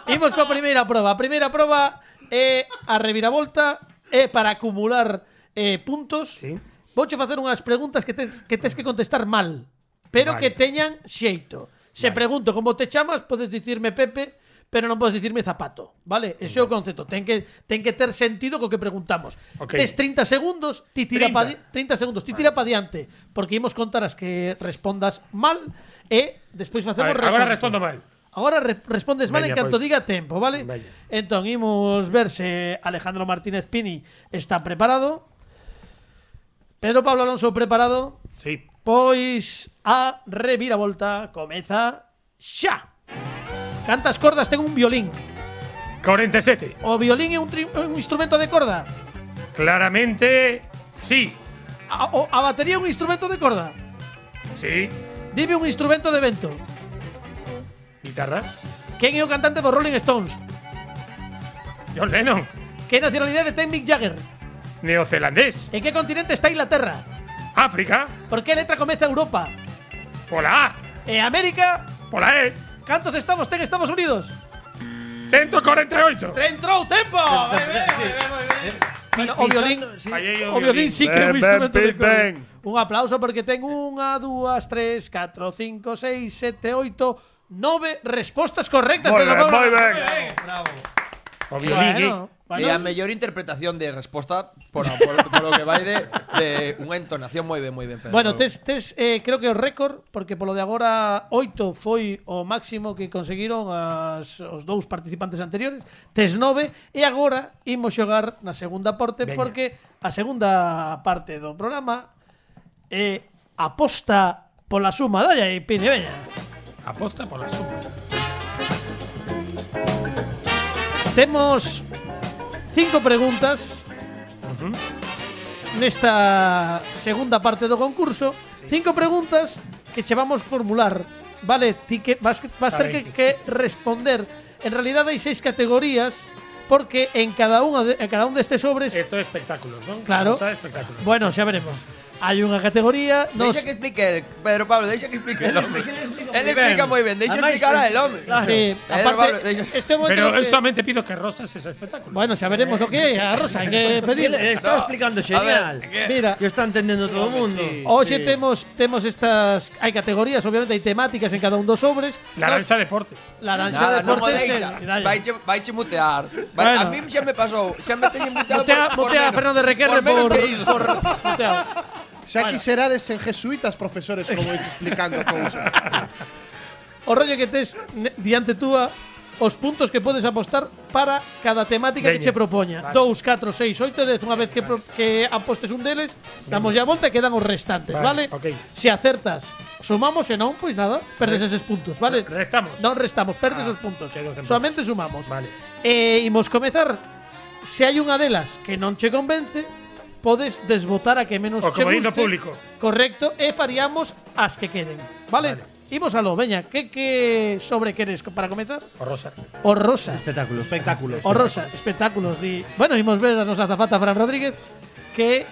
Imos coa primeira proba. A primeira proba é eh, a reviravolta, é para acumular eh, puntos. Sí. Vouche facer unhas preguntas que tes que, tes que contestar mal, pero Vale. que teñan xeito. Se pregunto como te chamas, podes dicirme Pepe, pero non podes dicirme zapato, vale? Ese é o concepto. Ten que ten que ter sentido co que preguntamos. Ok. Tes 30 segundos, ti tira 30. pa di- 30 segundos, ti tira pa diante, porque imos contar as que respondas mal e despois A facemos ver, ahora reconto. respondo mal. Agora re- respondes mal en Veña, canto pois. diga tempo, vale? Veña. Entón, imos ver se Alejandro Martínez Pini está preparado. Pedro Pablo Alonso preparado. Sí. Pois a reviravolta comeza xa. Cantas cordas ten un violín? 47. O violín é un, tri- un instrumento de corda? Claramente, sí. A, o, a batería é un instrumento de corda? Sí. Dime un instrumento de vento. Guitarra. Quen é o cantante dos Rolling Stones? John Lennon. Que nacionalidade ten Mick Jagger? Neozelandés. En que continente está Inglaterra? África. Por que letra comeza Europa? Por la A. E América? Por la E. Cantos estados ten Estados Unidos? 148. Trentrou tempo! Moi ben, moi ben, moi ben. Bueno, o violín, Fallei o o violín sí que é un Ben, instrumento ben, de corda. ben. Un aplauso porque ten unha, dúas, tres, catro, cinco, seis, sete, oito, nove respostas correctas. Moi Pedro ben, Pablo. moi ben. Bravo. O violín, ¿eh? Bueno, bueno. E a mellor interpretación de resposta por, por, por lo que vai de, de unha entonación moi ben, moi ben. Pedro. Bueno, tes, tes eh, creo que o récord, porque polo de agora 8 foi o máximo que conseguiron as, os dous participantes anteriores, tes 9, e agora imos xogar na segunda parte, Veña. porque a segunda parte do programa é aposta pola suma. Dalla aí, Pini, veña. eh. Aposta por la suma. Temos cinco preguntas nesta segunda parte do concurso. Cinco preguntas que che vamos formular. Vale, ti que vas, que- vas ter que, Carai. que responder. En realidad hai seis categorías porque en cada unha de, en cada un destes sobres, Esto es espectáculos, ¿no? Claro. Cosa de espectáculos. bueno, xa veremos. Hai unha categoría, nos Deixa que explique el, Pedro Pablo, deixa que explique el hombre. Él explica ben. moi ben, deixa Ademais, explicar al hombre. Claro. Sí, Pedro Pablo, aparte, deixa- este momento Pero no que- solamente pido que Rosas es espectáculo. Bueno, xa veremos o que é, a Rosa, hai que Sí, pedir. le estaba explicando genial. Mira, que está entendiendo todo el mundo. Hoxe temos temos estas hai categorías, obviamente hai temáticas en cada un dos sobres. La lanza deportes. Laranxa Nada, non mo Deportes. deixa. eh, dalla. Vaiche, vaiche mutear. Vai, Bueno. A mí xa me pasou. Xa me teñen muteado Mutea, por, por mutea a menos. Fernando Requerre por, menos por, que iso. por muteado. Se aquí serades en jesuitas profesores como vais explicando cousas. O rollo que tes ne- diante túa os puntos que podes apostar para cada temática que Veña. che propoña. 2, 4, 6, 8, 10. Unha vez que, pro- que apostes un deles, damos ya a volta e quedan os restantes, vale? Vale, ok. Se acertas, sumamos, se non, pois nada, perdes eses puntos, vale? Restamos. Non restamos, perdes Ah, os puntos. quedan sen Solamente sumamos. Vale. E imos comezar. Se hai unha delas que non che convence, podes desbotar a que menos O che comodín guste. do público. Correcto, e faríamos as que queden. Vale? Vale. Imos aló, veña, que, que sobre queres co- para comezar? O Rosas. O rosa. Espectáculos. Espectáculos. O rosa, espectáculos. Di... Bueno, imos ver a nosa azafata Fran Rodríguez que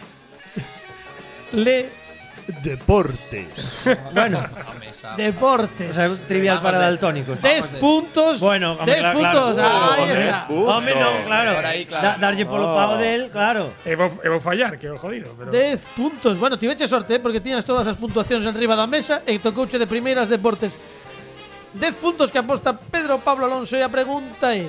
le Deportes. Bueno, o deportes. sea, trivial Vamos para de- daltónicos. 10 puntos. Bueno, hombre, 10 claro, puntos. claro. Ahí Hombre, está. Hombre, no, claro. Por ahí, claro. Da- darlle polo pavo de él, claro. Evo, Evo eh, fallar, que he jodido. Pero... 10 puntos. Bueno, tiveste sorte, eh, porque tiñas todas as puntuacións enriba da mesa e tocouche de primeiras deportes. 10 puntos que aposta Pedro Pablo Alonso e a pregunta é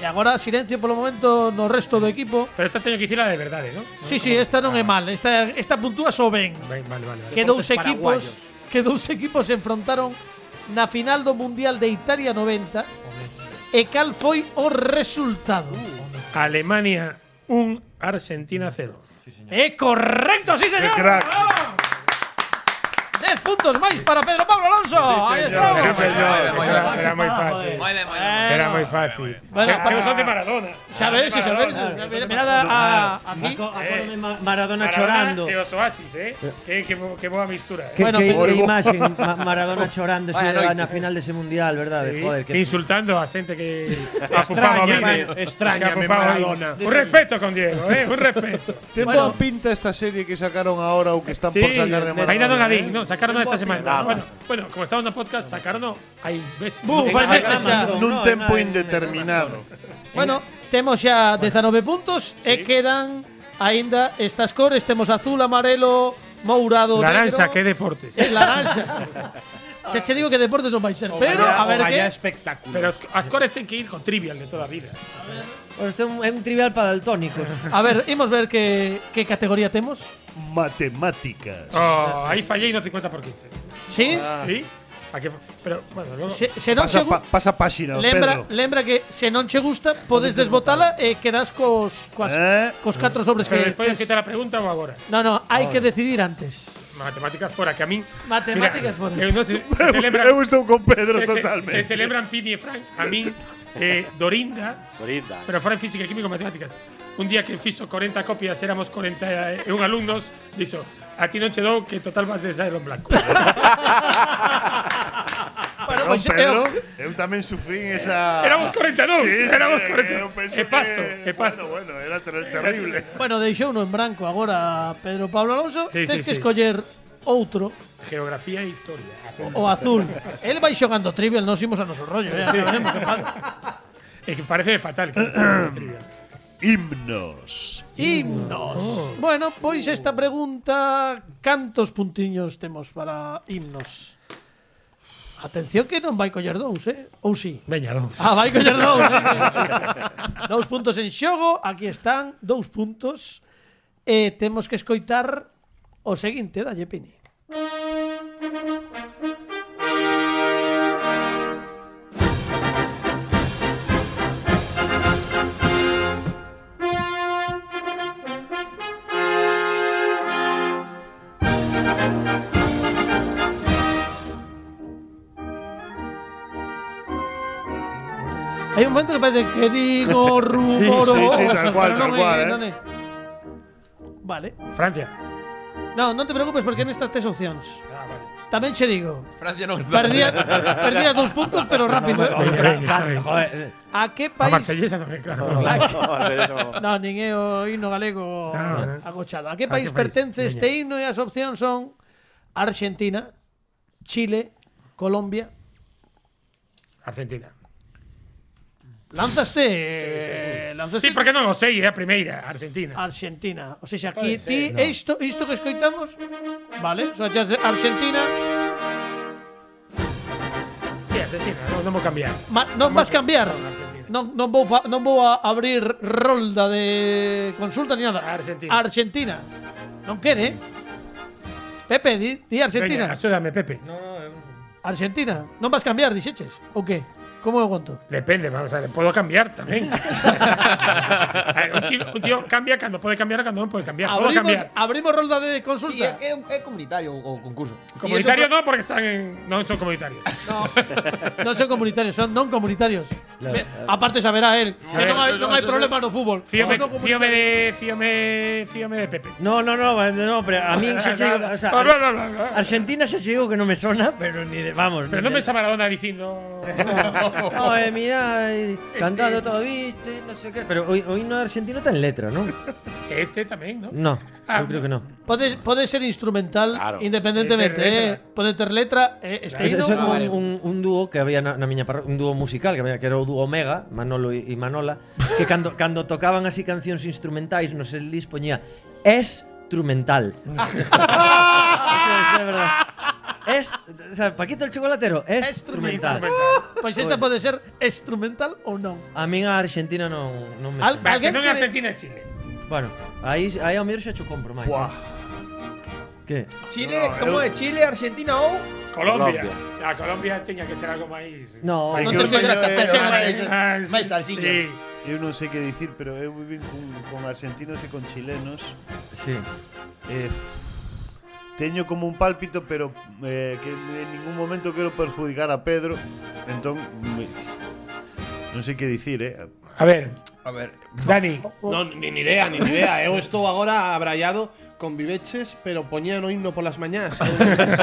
E agora silencio polo momento no resto do equipo. Pero esta tengo que decir la de verdades, ¿no? Sí, sí, esta non é mal, esta esta puntúa só ben. Vale, vale, vale. Que dous Deportes equipos, que dous equipos se enfrontaron na final do Mundial de Italia 90. E cal foi o resultado? Alemania 1, Argentina 0. É ¡Eh, correcto, sí, señor. crack. ¡Bravo! 10 puntos puntos máis para Pedro Pablo Alonso. Aí estamos. Sí, señor. Moi ben, Era, era muy fácil. Moi ben, moi ben. Era muy fácil. Bueno, Que- que no son de Maradona. Xa veis, xa veis. Mirada a, a mí. Aco- acórdome Ma- Maradona, Maradona chorando. E os Oasis, eh? Que, que, bo- que boa mistura. Eh? Que, Bueno, que, pero- que imaxe Ma- Maradona chorando Vaya noite. na final dese mundial, verdade? Sí, Joder, que que insultando a xente que apupaba Extrañame, ben. extrañame, apupaba ben. Maradona. Un respeto con Diego, eh? Un respeto. Ten boa pinta esta serie que sacaron ahora ou que están Sí, por sacar de ainda non a vi, ¿eh? non, sacaron Ten esta boa pinta. semana. Bueno, bueno, como estamos no podcast, sacaron hai veces. Buf, fai meses xa. Nun No, tempo nada, indeterminado. Bueno, temos xa 19 puntos e quedan aínda estas cores. Temos azul, amarelo, mourado, Naranja, negro. que deportes. É laranja. Se che digo que deportes non vai ser, pero a ver que Vaya espectáculo. Pero as- as cores ten que ir con trivial de toda a vida. Bueno, Este é un, é un trivial para daltónicos. A ver, imos ver que que categoría temos. Matemáticas. Oh, aí fallei no 50 por 15. Sí? Sí? A que, pero, bueno, luego… Se, se non che gu- Pasa, pa- pasa páxina, lembra, Pedro. lembra que se non che gusta, podes desbotala e quedas cos coas, Eh? cos catro sobres pero que tes. despois que te la pregunta ou agora? No, no, hai que decidir antes. Matemáticas fora, que a min… Matemáticas fora. Eu non se, se celebra… Eu estou con Pedro se, se- totalmente. se celebran Pini e Frank, a min eh, Dorinda, Dorinda. pero fora en física, química e matemáticas. Un día que fixo 40 copias, éramos 41 alumnos, dixo, a ti non che dou que total vas de sair en blanco. Bueno, Non, pois Ah, Pedro, eh, eu, eu tamén sufrín esa... Pues Éramos 42, éramos 40. eu penso É pasto, eh, que- é pasto. pues, eh, Bueno, bueno, era ter- terrible. bueno, deixou no en branco agora Pedro Pablo Alonso, Sí, tens sí, que sí. escoller outro Geografía e historia. o azul. El vai xogando trivial, nos imos a noso rollo, eh, saberemos que pasa. É que parece fatal que non sea trivial. Himnos. Himnos. Oh. Bueno, pois esta pregunta, cantos puntiños temos para himnos? Atención que non vai coller dous, eh? Ou si? Veña, don. Ah, vai coller dous. eh? dous puntos en xogo, aquí están, dous puntos. E temos que escoitar o seguinte, dalle Pini. Hai un momento que parece que digo rumor sí, o sí, tal cosas, cual, pero non tal cual, é, eh. non é. Vale. Francia. No, non te preocupes porque nestas tes opcións. Ah, vale. Tamén che digo, Francia non está. perdía, perdía dous puntos, pero rápido. eh. Veña, veña, veña. Joder, A que A país? Marsellesa tamén, claro. No, nin é o himno galego Ah, eh. agochado. A que A que país país? pertence Veña. este himno e as opcións son Argentina, Chile, Colombia. Argentina. Lanzaste, eh, lanzaste Sí, porque non o sei, é a primeira, Ah. Argentina. Argentina. O sea, aquí ti isto isto que escoitamos, vale? So Argentina, Sí, Argentina, non, non vou cambiar. ma, non vas cambiar. Argentina. Non, non vou fa- non vou a abrir rolda de consulta ni nada. Argentina. Argentina. Non quere. Pepe, di, di Argentina. Veña, axúdame, Pepe. No, Argentina, non vas cambiar, dixeches? Ou que? Como eu conto? Depende, vamos a ver, podo cambiar tamén. A ver, un, tío, un tío cambia cando pode cambiar, cando non pode cambiar. Podo Abrimos, cambiar. abrimos rolda de Sí, é, consulta. é, é comunitario o concurso. Comunitario non, porque están en, non son comunitarios. non son comunitarios, son non comunitarios. Me- Aparte saberá él que non hai, non hai problema no fútbol. Fíome, Como non fíome comunitarios. de, fíome, fíome de Pepe. No, no, no, vale, no, pero a mí se chegou, o sea, Bla, bla, bla, bla. Argentina se chegou que non me sona, pero ni de, vamos. Pero ni non de- me a Maradona dicindo… No, eh, mira, eh, cantando todo, viste, no sé qué. Pero hoy, hoy no argentino tan letra, ¿no? Este tamén, non? No, yo Ah, creo que no. Pode, pode ser instrumental Claro. independentemente, Ter letra. eh. Pode ter letra, eh, este Es, himno. eso era vale. un, un, un dúo que había na, na miña parro- un dúo musical que, había, que era o dúo Omega, Manolo e e Manola, que cando, cando tocaban así cancións instrumentais, nos el dis poñía es instrumental. é verdad. Es, o sea, Paquito el chocolatero, es instrumental. Pois Pues esta pode ser instrumental ou non. A min a Argentina non, non me Al- sona. Vale, Alguén se non é quere- Argentina, é Chile. Bueno, aí aí ao mellor xa cho compro máis. Buah. Que? Chile, como é? Chile, Argentina ou Colombia. Colombia. A Colombia teña que ser algo máis… No, Ay, non que te escolla eh, a chapela, eh, máis, Ah, máis salsiña. Sí. Eu non sei que dicir, pero eu vivín con, con argentinos e con chilenos. sí. Eh, teño como un pálpito, pero eh, que en ningún momento quero perjudicar a Pedro. Entón, me... non sei que dicir, eh. A ver, A ver, Dani, No, ni ni idea, ni ni idea. Eu estou agora abraiado con viveches, pero poñían o himno polas mañás.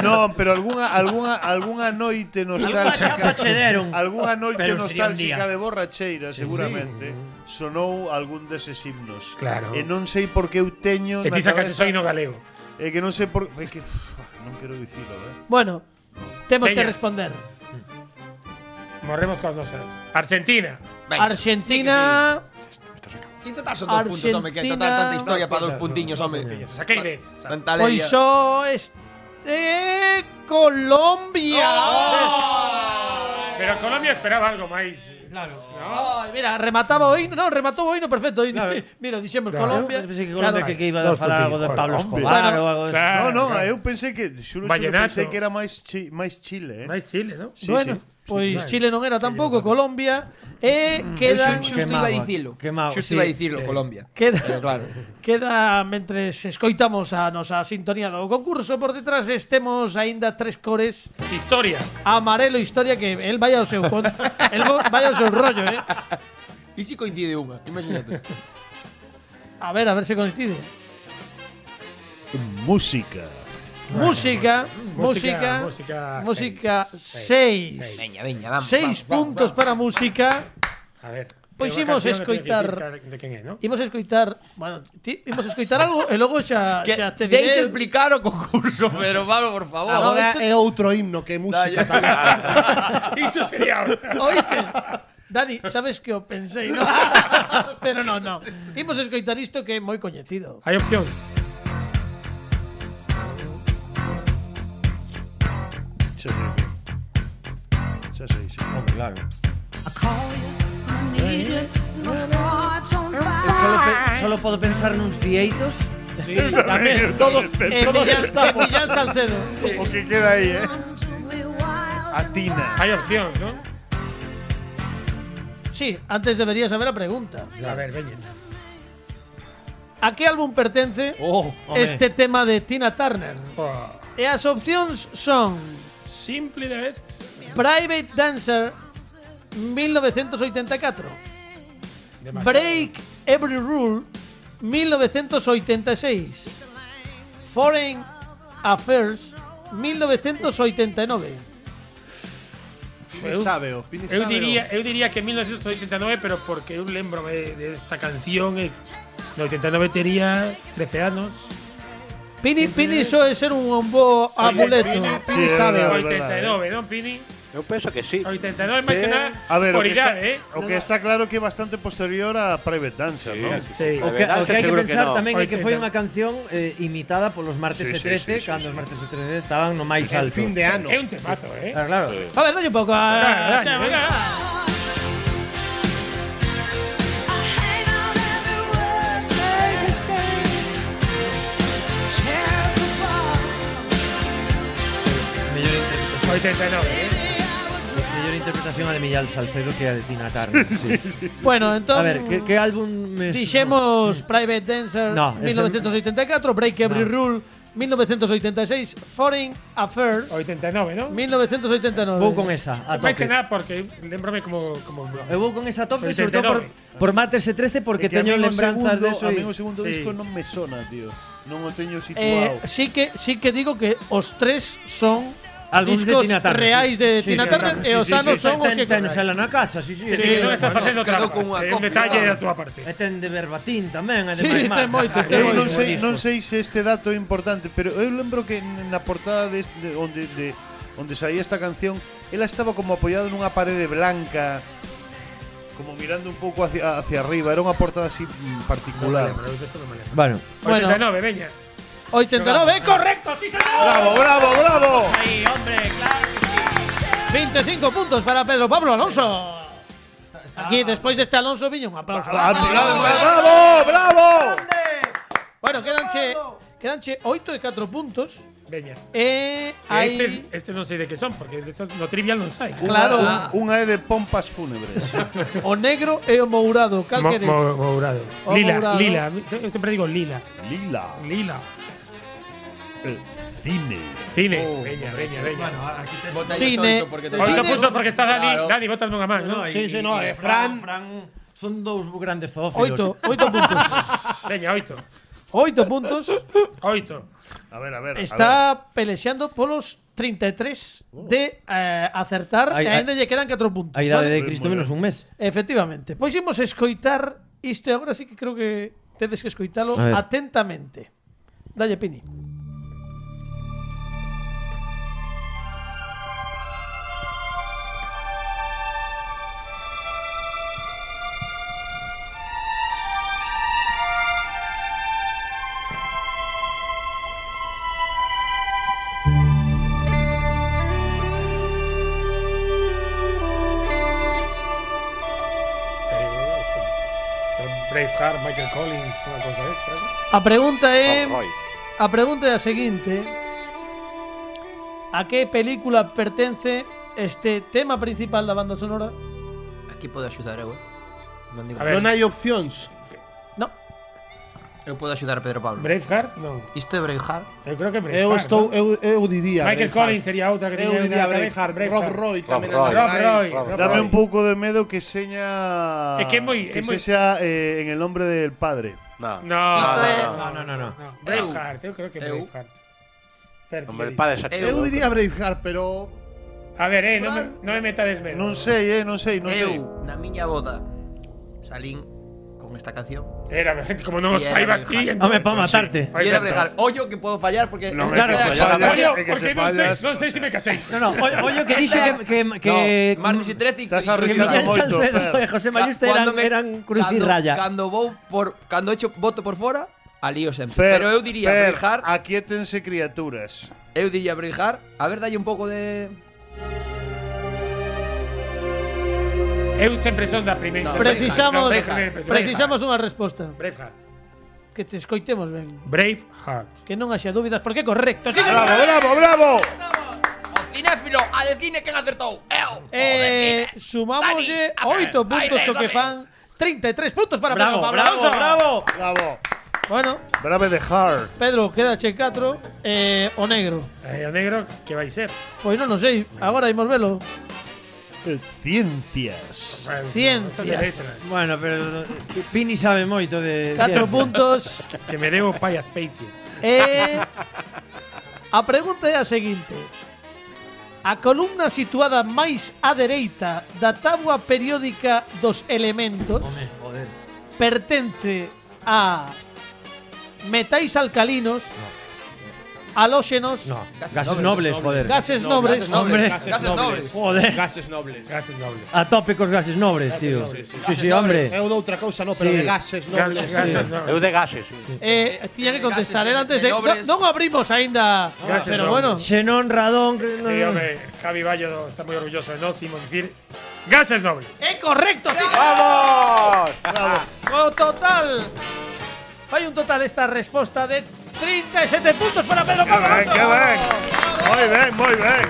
non, pero algunha algunha algunha noite Algunha chapa nostálxica. che deron. Algunha noite Pero sería un nostálxica día. de borracheira, seguramente, sonou algún deses himnos. Claro. E non sei por que eu teño e na ti sacaste cabeza- soy no galego. É que non sei por é que uf, non quero dicilo, eh. Bueno, tenemos que Veña. responder. Morremos con cosas. Argentina. venga. Argentina. Sí, total son dos puntos, home, que total Argentina- tanta historia para dos Dos puntiños, home. Saquei dez. Tanta Hoy alegría. yo este Colombia. Pero Colombia esperaba algo máis. Claro. No? Ay, mira, remataba hoy, no, remató hoy, no, perfecto. Oíno. Mira, dixemos Claro. Colombia. Pensei que Claro. Colombia que, que iba a Dos falar algo de puntiños, Pablo hombre. Escobar Bueno, ou algo de... No, Claro, non, claro. eu pensei que xuro que Vallenato. pensei que era máis chi, máis Chile, eh. Máis Chile, ¿no? Sí, bueno, sí. pues Chile no era tampoco, Colombia. Eh, Yo quedan, justo iba a dicirlo. Qué mago, sí, Justo iba a decirlo, sí. Colombia. Queda- Pero claro. queda mentres escoitamos a nosa sintonía do concurso por detrás estemos aínda tres cores Historia. amarelo historia que el vaya ao seu con, el vo- vaya ao seu rollo, eh. ¿Y si coincide una? Imagínate. A ver, a ver se coincide. Música. música, música, música música seis, 6. seis. Veña, veña, vamos. 6 puntos para música. A ver. Pues Pois pero a imos canción non teño que escoitar- dicir De quen é, ¿no? Imos a escoitar, bueno, ti, imos a escoitar algo e logo xa, Que xa te deis diré. Ah, explicar o concurso, pero vamos, por favor. Agora é outro himno que é música. Iso sería ahora. Oíches? Dani, sabes que o pensei, no? Pero no, no. Imos a escoitar isto que é moi coñecido. Hai opcións. eh. Xa sei. Xa sei, xa. Solo, pe solo podo pensar nuns fieitos. Tamén, todos, E Millán, e Millán Salcedo. o que queda aí, eh. Atina. Hai opcións, ¿no? Sí, antes deberías saber a pregunta. A ver, veñen. A que álbum pertence Oh, home. este tema de Tina Turner? Oh. E as opcións son Simply the best. Private Dancer 1984, Demasiado. Break Every Rule 1986, Foreign Affairs 1989. Pini sabe, o Pini Eu sabe. diría, eu diría que 1989, pero porque eu lembrome desta canción e no 89 tería 13 anos. Pini, Pini, eso es ser un, un bo amuleto. Pini sabe. é o- e verdade. 89, non, Pini? Eu penso que sí. 89 máis que Pero- nada eh. A ver, o por que, está, idade, eh? o que está claro que é bastante posterior a Private Dancer, sí, ¿no? Sí. O que, o que hai que Seguro que pensar no. tamén é que foi 80. unha canción eh, imitada polos martes Sí, e sí, sí, 13, sí, cando sí. os martes e 13 estaban no máis El alto. fin de ano. É un temazo, eh? Claro, claro. A ver, dale un poco. eh, a- Claro, claro, Mellor, inter- 89, eh? mellor interpretación a de Millán Salcedo que a de Tina Turner. Bueno, A entonces. ver, que, que álbum me Dixemos Private Dancer Mm. No, ese- 1984, Break Every Rule 1986, Foreign Affairs 89, non? Vou con 1989. esa, a tope. Máis que nada porque lembrome como como Eu vou con esa a tope, sobre 89. todo por, por martes e 13 É porque que a teño min o lembranzas segundo- de eso. A mí o segundo Sí. disco non me sona, tío. Non o teño Eh, situado. sí que sí que digo que os tres son Álbuns de discos Tina Turner, reais de sí. Tina Sí, Turner sí, e sí, os sí, anos sí, son os que Ten, ten, na casa, sí, sí. Que sí. sí, non estás facendo quedo trampas. con unha É un copia. detalle da túa parte. E ten de verbatín tamén, Sí, ademais ten moito, ten Eu moi non bo sei, non sei se este dato é importante, pero eu lembro que na portada de, este, de onde de onde saía esta canción, ela estaba como apoiada nunha parede blanca, como mirando un pouco hacia, hacia arriba, era unha portada así mm, particular. Bueno, Bueno. 89, veña. 89, correcto, sí señor. Bravo, bravo, bravo. aí, hombre, claro. 25 puntos para Pedro Pablo Alonso. Aquí despois deste Alonso viña un aplauso. Ah, Bravo, bravo. Bueno, quedanche quedanche 8 e 4 puntos. Veña. E Ahí... hai Este, este non sei de que son, porque de esos no trivial non sai. Claro. Unha- Unha é E de pompas fúnebres. O negro e o mourado, cal Mo- queres? mo- Mourado. O Mourado. Lila, lila. Mi- se- Eu sempre digo lila. Lila. Lila. Eh, Cine. Cine, veña, veña, veña. Bueno, aquí te Vota yo Cine. solto porque te Oito Oito Cine. puntos porque está Dani. Claro. Dani, votas nunha man, non? Sí, sí, no, eh, Fran- Fran son dous grandes zoófilos. Oito, oito puntos. Veña, oito. Oito puntos. Oito. A ver, a ver. a ver. Está pelexeando polos 33 de eh, acertar Ai, e ai. ainda lle quedan 4 puntos. A idade vale? de Cristo Moi ben. menos un mes. Efectivamente. Pois imos escoitar isto e agora sí que creo que tedes que escoitalo A ver. atentamente. Dalle, Pini. Braveheart, Michael Collins, unha cosa extra. A pregunta é... Rob Roy. A pregunta é a seguinte. A que película pertence este tema principal da banda sonora? Aquí podo axudar eu, eh. Non digo. A ver, Non hai opcións. No. Eu podo axudar a Pedro Pablo. Braveheart, non. Isto é Braveheart. Eu creo que Eu Braveheart. estou non? eu, eu diría Michael Braveheart. Collins sería outra que Eu tiña diría na cabeza, Braveheart, Rob Roy tamén. Rob Rob Roy. Rob Rob Dame Roy. un poco de miedo que seña. Es que es muy- que es se muy- sea eh, en el nombre del padre. No. No, Isto é- no, No, no, no, no. no. Eu. Braveheart, eu creo que Eu. Braveheart. Fer, que Hombre, di? el padre xa Eu chegou. diría Braveheart, pero A ver, eh, non me, non me metades medo. No sé, eh, no sé, no sé. Eu, na miña boda, salín con esta canción. Era, como non o Y era saibas ti. Braveheart. Home, pa matarte. Y era Braveheart. Ollo que podo fallar porque... No, Esta claro, pues era a fallar. casa- Fallar. Coño, que se porque non sei, fallas. non sei se me casei. No, no, o- ollo que dixo que que que no, martes e 13 Estás que arriscando Miguel moito, Salcedo Fer. e José Mayuste eran eran cruz e cando, raya. Cando vou por cando echo voto por fora, alío sempre. Fer, Pero eu diría Fer, Braveheart, aquietense criaturas. eu diría Braveheart. A ver, dalle un pouco de Eu sempre son da primeira. No, da primeira- Precisamos, da primeira impresión. precisamos unha resposta. Braveheart. Que te escoitemos ben. Braveheart. Que non haxa dúbidas porque é correcto. Ah, Sí, señor. ¡Bravo, bravo, bravo! O cinéfilo, a de cine que acertou. Eu. Eh, sumámoslle 8 puntos co que fan 33 puntos para Bravo, Pedro Pablo bravo, Alonso. bravo. Bravo. Bueno, Brave de Hard. Pedro, queda che 4 eh, o negro. Eh, o negro, que vai ser? Pois non o sei, agora imos velo. Ciencias. Bueno, Ciencias. son de letras. Bueno, pero eh, Pini sabe moito de 4 de- puntos. Que me debo payas Peitia. E a pregunta é a seguinte. A columna situada máis á dereita da tábua periódica dos elementos Joder. pertence a metais alcalinos, halóxenos, No, Gases gases nobles, nobles, joder. gases nobres, gases nobles. Hombre, gases gases nobles. nobles. Joder. Gases nobles. Gracias, noble. A tope cos gases nobles, tío. nobles, sí. Sí, sí, hombre. Eu de outra cousa, no, pero Sí. de gases nobles. Gracias, Sí. noble. Eu de gases, sí. Eh, tiña que contestar Gases el antes de. nobles. No, non abrimos aínda, Gases pero nobles. bueno. Xenón, Radón, Sí, hombre, Javi Bayo está muy orgulloso de nos y decir gases nobles. É correcto, sí. ¡Vamos! O Oh, total. Hay un total esta respuesta de 37 puntos para Pedro Pablo. ben, que ben. Muy bien, muy bien.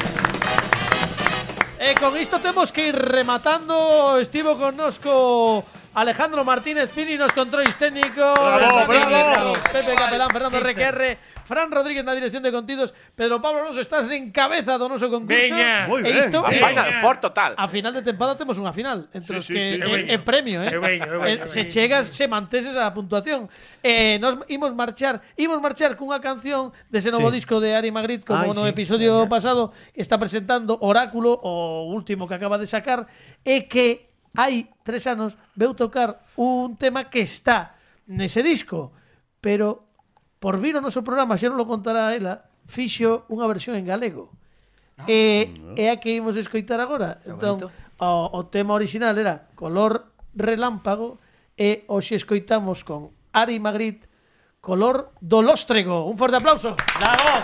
Eh, con esto tenemos que ir rematando. Estivo con nosco Alejandro Martínez Pini, nos controles técnicos. Bravo, Pepe bravo. Pepe Capelán, Fernando Requerre, Fran Rodríguez en la dirección de contidos. Pedro Pablo Alonso, estás en cabeza do noso concurso. Veña. Muy E bien. isto- A Eh, Final ya. Four total. A final de temporada tenemos una final. Entre Sí, los sí, que sí, é- sí. é premio, ¿eh? É veño, é veño, Eh, é se veño. chegas, se manteses a puntuación. Eh, nos imos marchar, imos marchar cunha canción dese novo Sí. disco de Ari Magritte como Ai, no sí. episodio pasado que está presentando Oráculo, o último que acaba de sacar, e que hai tres anos veu tocar un tema que está nese disco, pero por vir o noso programa, xa non lo contará ela, fixo unha versión en galego. E, é a que imos escoitar agora. Entón, bonito. o, o tema original era Color Relámpago e hoxe escoitamos con Ari Magritte Color do Lóstrego. Un forte aplauso. Bravo.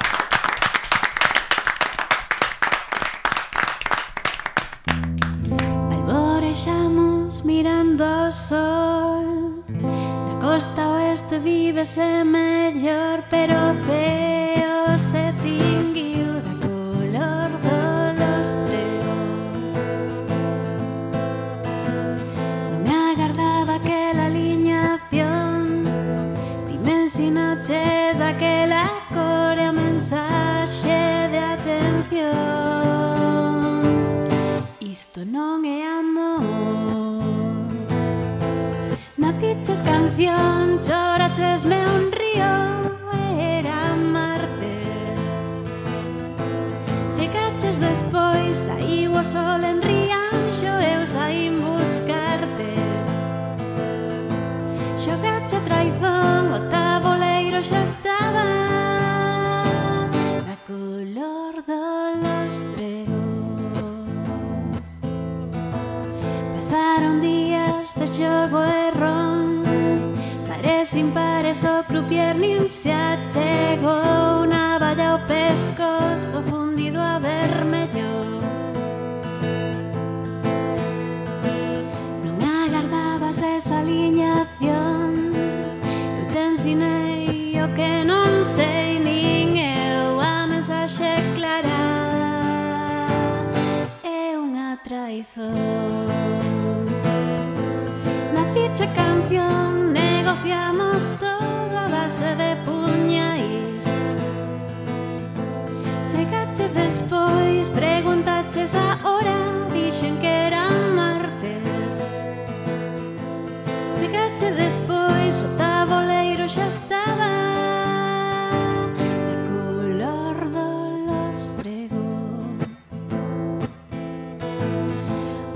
Alborexamos mirando o sol Na costa oeste vívese mellor Pero o ceo se tinguiu da color do lostrego Non agardaba aquela aliñación Ti me ensinaches aquela cor e a mensaxe Isto non é amor Naciches canción, choraches me un río Era martes Chegaches despois, aí o sol en rianxo Eu saín buscarte Xogache a traizón, o taboleiro xa estaba Da color do lostreón Pasaron días de xogo e ron Pares impares o crupier nin se achegou Unha valla o pescozo fundido a vermello Non agardabas esa aliñación Eu te ensinei o que non sei nin eu A mensaxe clara É unha traición Na dicha canción negociamos todo a base de puñais Chegache despois, preguntaches a hora Dixen que era martes Chegache despois, o taboleiro xa estaba De color do lostrego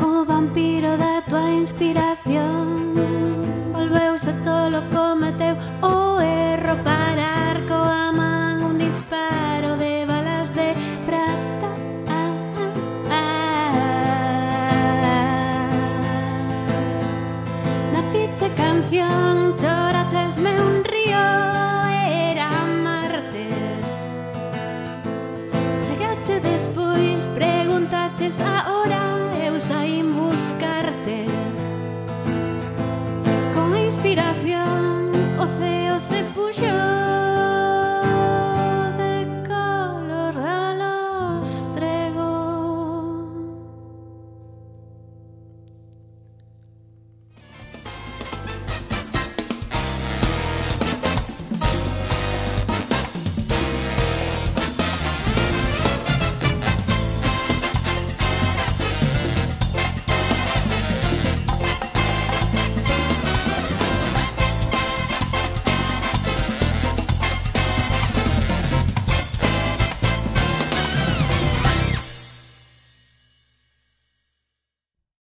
O vampiro da tua inspiración Volveuse tolo, cometeu o erro Parar coa man un disparo de balas de prata Ah, ah. Na ficha canción chorachesme un río Era martes Chegache despois, preguntaches a hora Eu saín buscarte Con inspiración